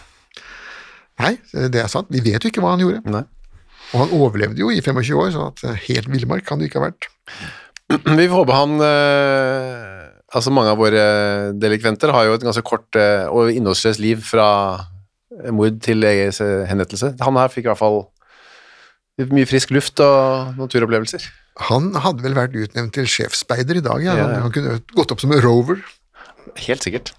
[SPEAKER 3] Nei, det er sant. Vi vet jo ikke hva han gjorde.
[SPEAKER 2] Nei.
[SPEAKER 3] Og han overlevde jo i 25 år, så at eh, helt villmark kan det ikke ha vært.
[SPEAKER 2] Vi får håpe han eh, Altså, mange av våre delikventer har jo et ganske kort eh, og innholdsløst liv fra mord til E egen henrettelse. Han her fikk i hvert fall litt mye frisk luft og naturopplevelser.
[SPEAKER 3] Han hadde vel vært utnevnt til sjefsspeider i dag, ja.
[SPEAKER 2] Ja,
[SPEAKER 3] Han,
[SPEAKER 2] ja.
[SPEAKER 3] han kunne gått opp som en rover.
[SPEAKER 2] Helt sikkert.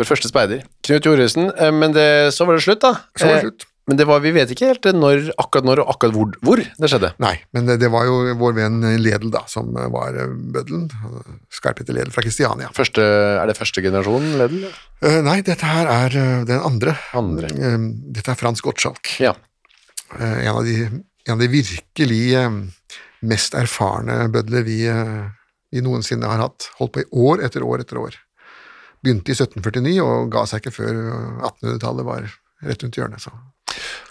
[SPEAKER 2] Vår første speider. Knut Joresen. eh, Men det, så var det slutt, da.
[SPEAKER 3] Så var
[SPEAKER 2] Eh,
[SPEAKER 3] det slutt.
[SPEAKER 2] Men det var, vi vet ikke helt når, akkurat når og akkurat hvor, hvor det skjedde.
[SPEAKER 3] Nei, men eh, det, det var jo vår venn Ledel, da, som eh, var eh, bøddelen. eh, Skarpete Ledel fra Kristiania.
[SPEAKER 2] Første, er det første generasjon Ledel?
[SPEAKER 3] Eh, nei, dette her er eh, den andre.
[SPEAKER 2] Andre.
[SPEAKER 3] Eh, dette er Frans Gottschalk.
[SPEAKER 2] Ja.
[SPEAKER 3] Eh, en, av de, en av de virkelig eh, mest erfarne bødler vi, eh, vi noensinne har hatt. Holdt på i år etter år etter år. Begynte i 1749 og ga seg ikke før eh, 1800-tallet var rett rundt hjørnet. Så.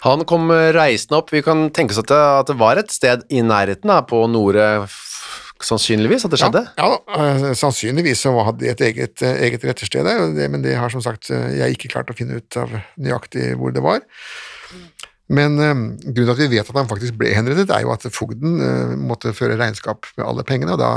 [SPEAKER 2] Han kom eh, reisende opp. Vi kan tenke oss at det, at det var et sted i nærheten da, på Nore, f- sannsynligvis, at det skjedde.
[SPEAKER 3] Ja, ja eh, sannsynligvis så hadde de et eget, eh, eget rettersted der, og det- men det har som sagt eh, jeg ikke klart å finne ut av nøyaktig hvor det var. Men eh, grunnen til at vi vet at han faktisk ble henrettet, er jo at fogden eh, måtte føre regnskap med alle pengene, og da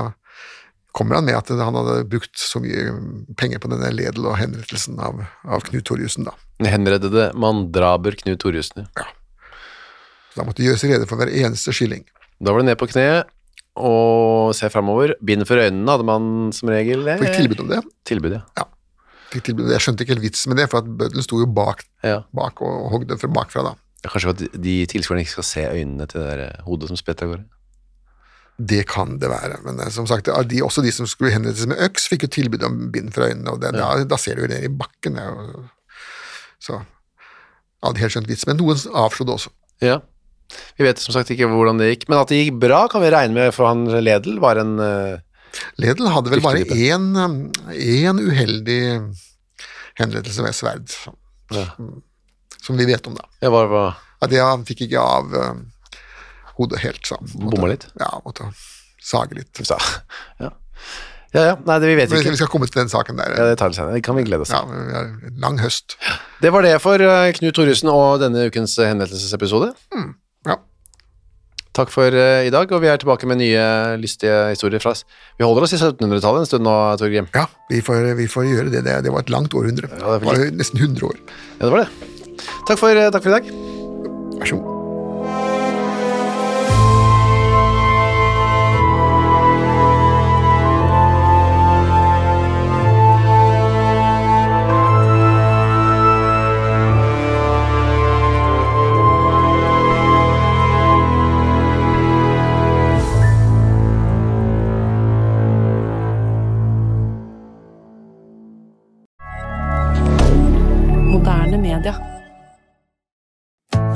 [SPEAKER 3] kommer han med at han hadde brukt så mye penger på denne ledel og henrettelsen av, av Knut Torjussen, da.
[SPEAKER 2] Den Henreddede mandraber Knut Torjussen.
[SPEAKER 3] Så da måtte det gjøres rede for hver eneste skilling.
[SPEAKER 2] Da var det ned på kne og se fremover. Bind for øynene hadde man som regel. eh,
[SPEAKER 3] Fikk tilbud om det.
[SPEAKER 2] Tilbud, ja.
[SPEAKER 3] Fikk tilbud om det. Jeg skjønte ikke helt vitsen med det, for at bøddelen sto jo bak,
[SPEAKER 2] ja.
[SPEAKER 3] bak og og hogde fra bakfra, da.
[SPEAKER 2] Kanskje for at de- de tilskuerne ikke skal se øynene til det der eh, hodet som spretter av gårde.
[SPEAKER 3] Det kan det være, men eh, som sagt, det er de, også de som skulle henrettes med øks, fikk jo tilbud om bind for øynene, og det, da, da ser du jo ned i bakken. det er jo- Så jeg hadde helt skjønt vits, men noen avslo det også.
[SPEAKER 2] Ja. Vi vet som sagt ikke hvordan det gikk, men at det gikk bra kan vi regne med, for han Ledel var en eh,
[SPEAKER 3] Ledel hadde vel bare
[SPEAKER 2] Dyktig type.
[SPEAKER 3] én um, én uheldig henrettelse med sverd, som,
[SPEAKER 2] Ja.
[SPEAKER 3] som vi vet om, da.
[SPEAKER 2] Ja, hva var
[SPEAKER 3] At det han fikk ikke av um, hodet helt, så han måtte-
[SPEAKER 2] Bomma litt?
[SPEAKER 3] Ja, måtte sage litt.
[SPEAKER 2] Ja. Ja. ja, ja. Nei, det liksom vi vet
[SPEAKER 3] Men vi
[SPEAKER 2] ikke.
[SPEAKER 3] skal komme til den saken der.
[SPEAKER 2] Ja, det tar vi senere. Det kan vi glede oss til.
[SPEAKER 3] Ja, vi har en lang høst.
[SPEAKER 2] Det var det for eh, Knut Thoresen og denne ukens eh, henrettelsesepisode.
[SPEAKER 3] Ja.
[SPEAKER 2] Takk for eh, i dag, og vi er tilbake med nye lystige historier fra oss. Vi holder oss i 1700-tallet en stund nå, Torgrim.
[SPEAKER 3] Ja, vi får, vi får gjøre det. det. Det var et langt århundre.
[SPEAKER 2] Ja, det var
[SPEAKER 3] det var nesten 100 år.
[SPEAKER 2] Ja, det var det. Takk for, eh, takk for i dag.
[SPEAKER 3] Vær så god.
[SPEAKER 5] Moderne media.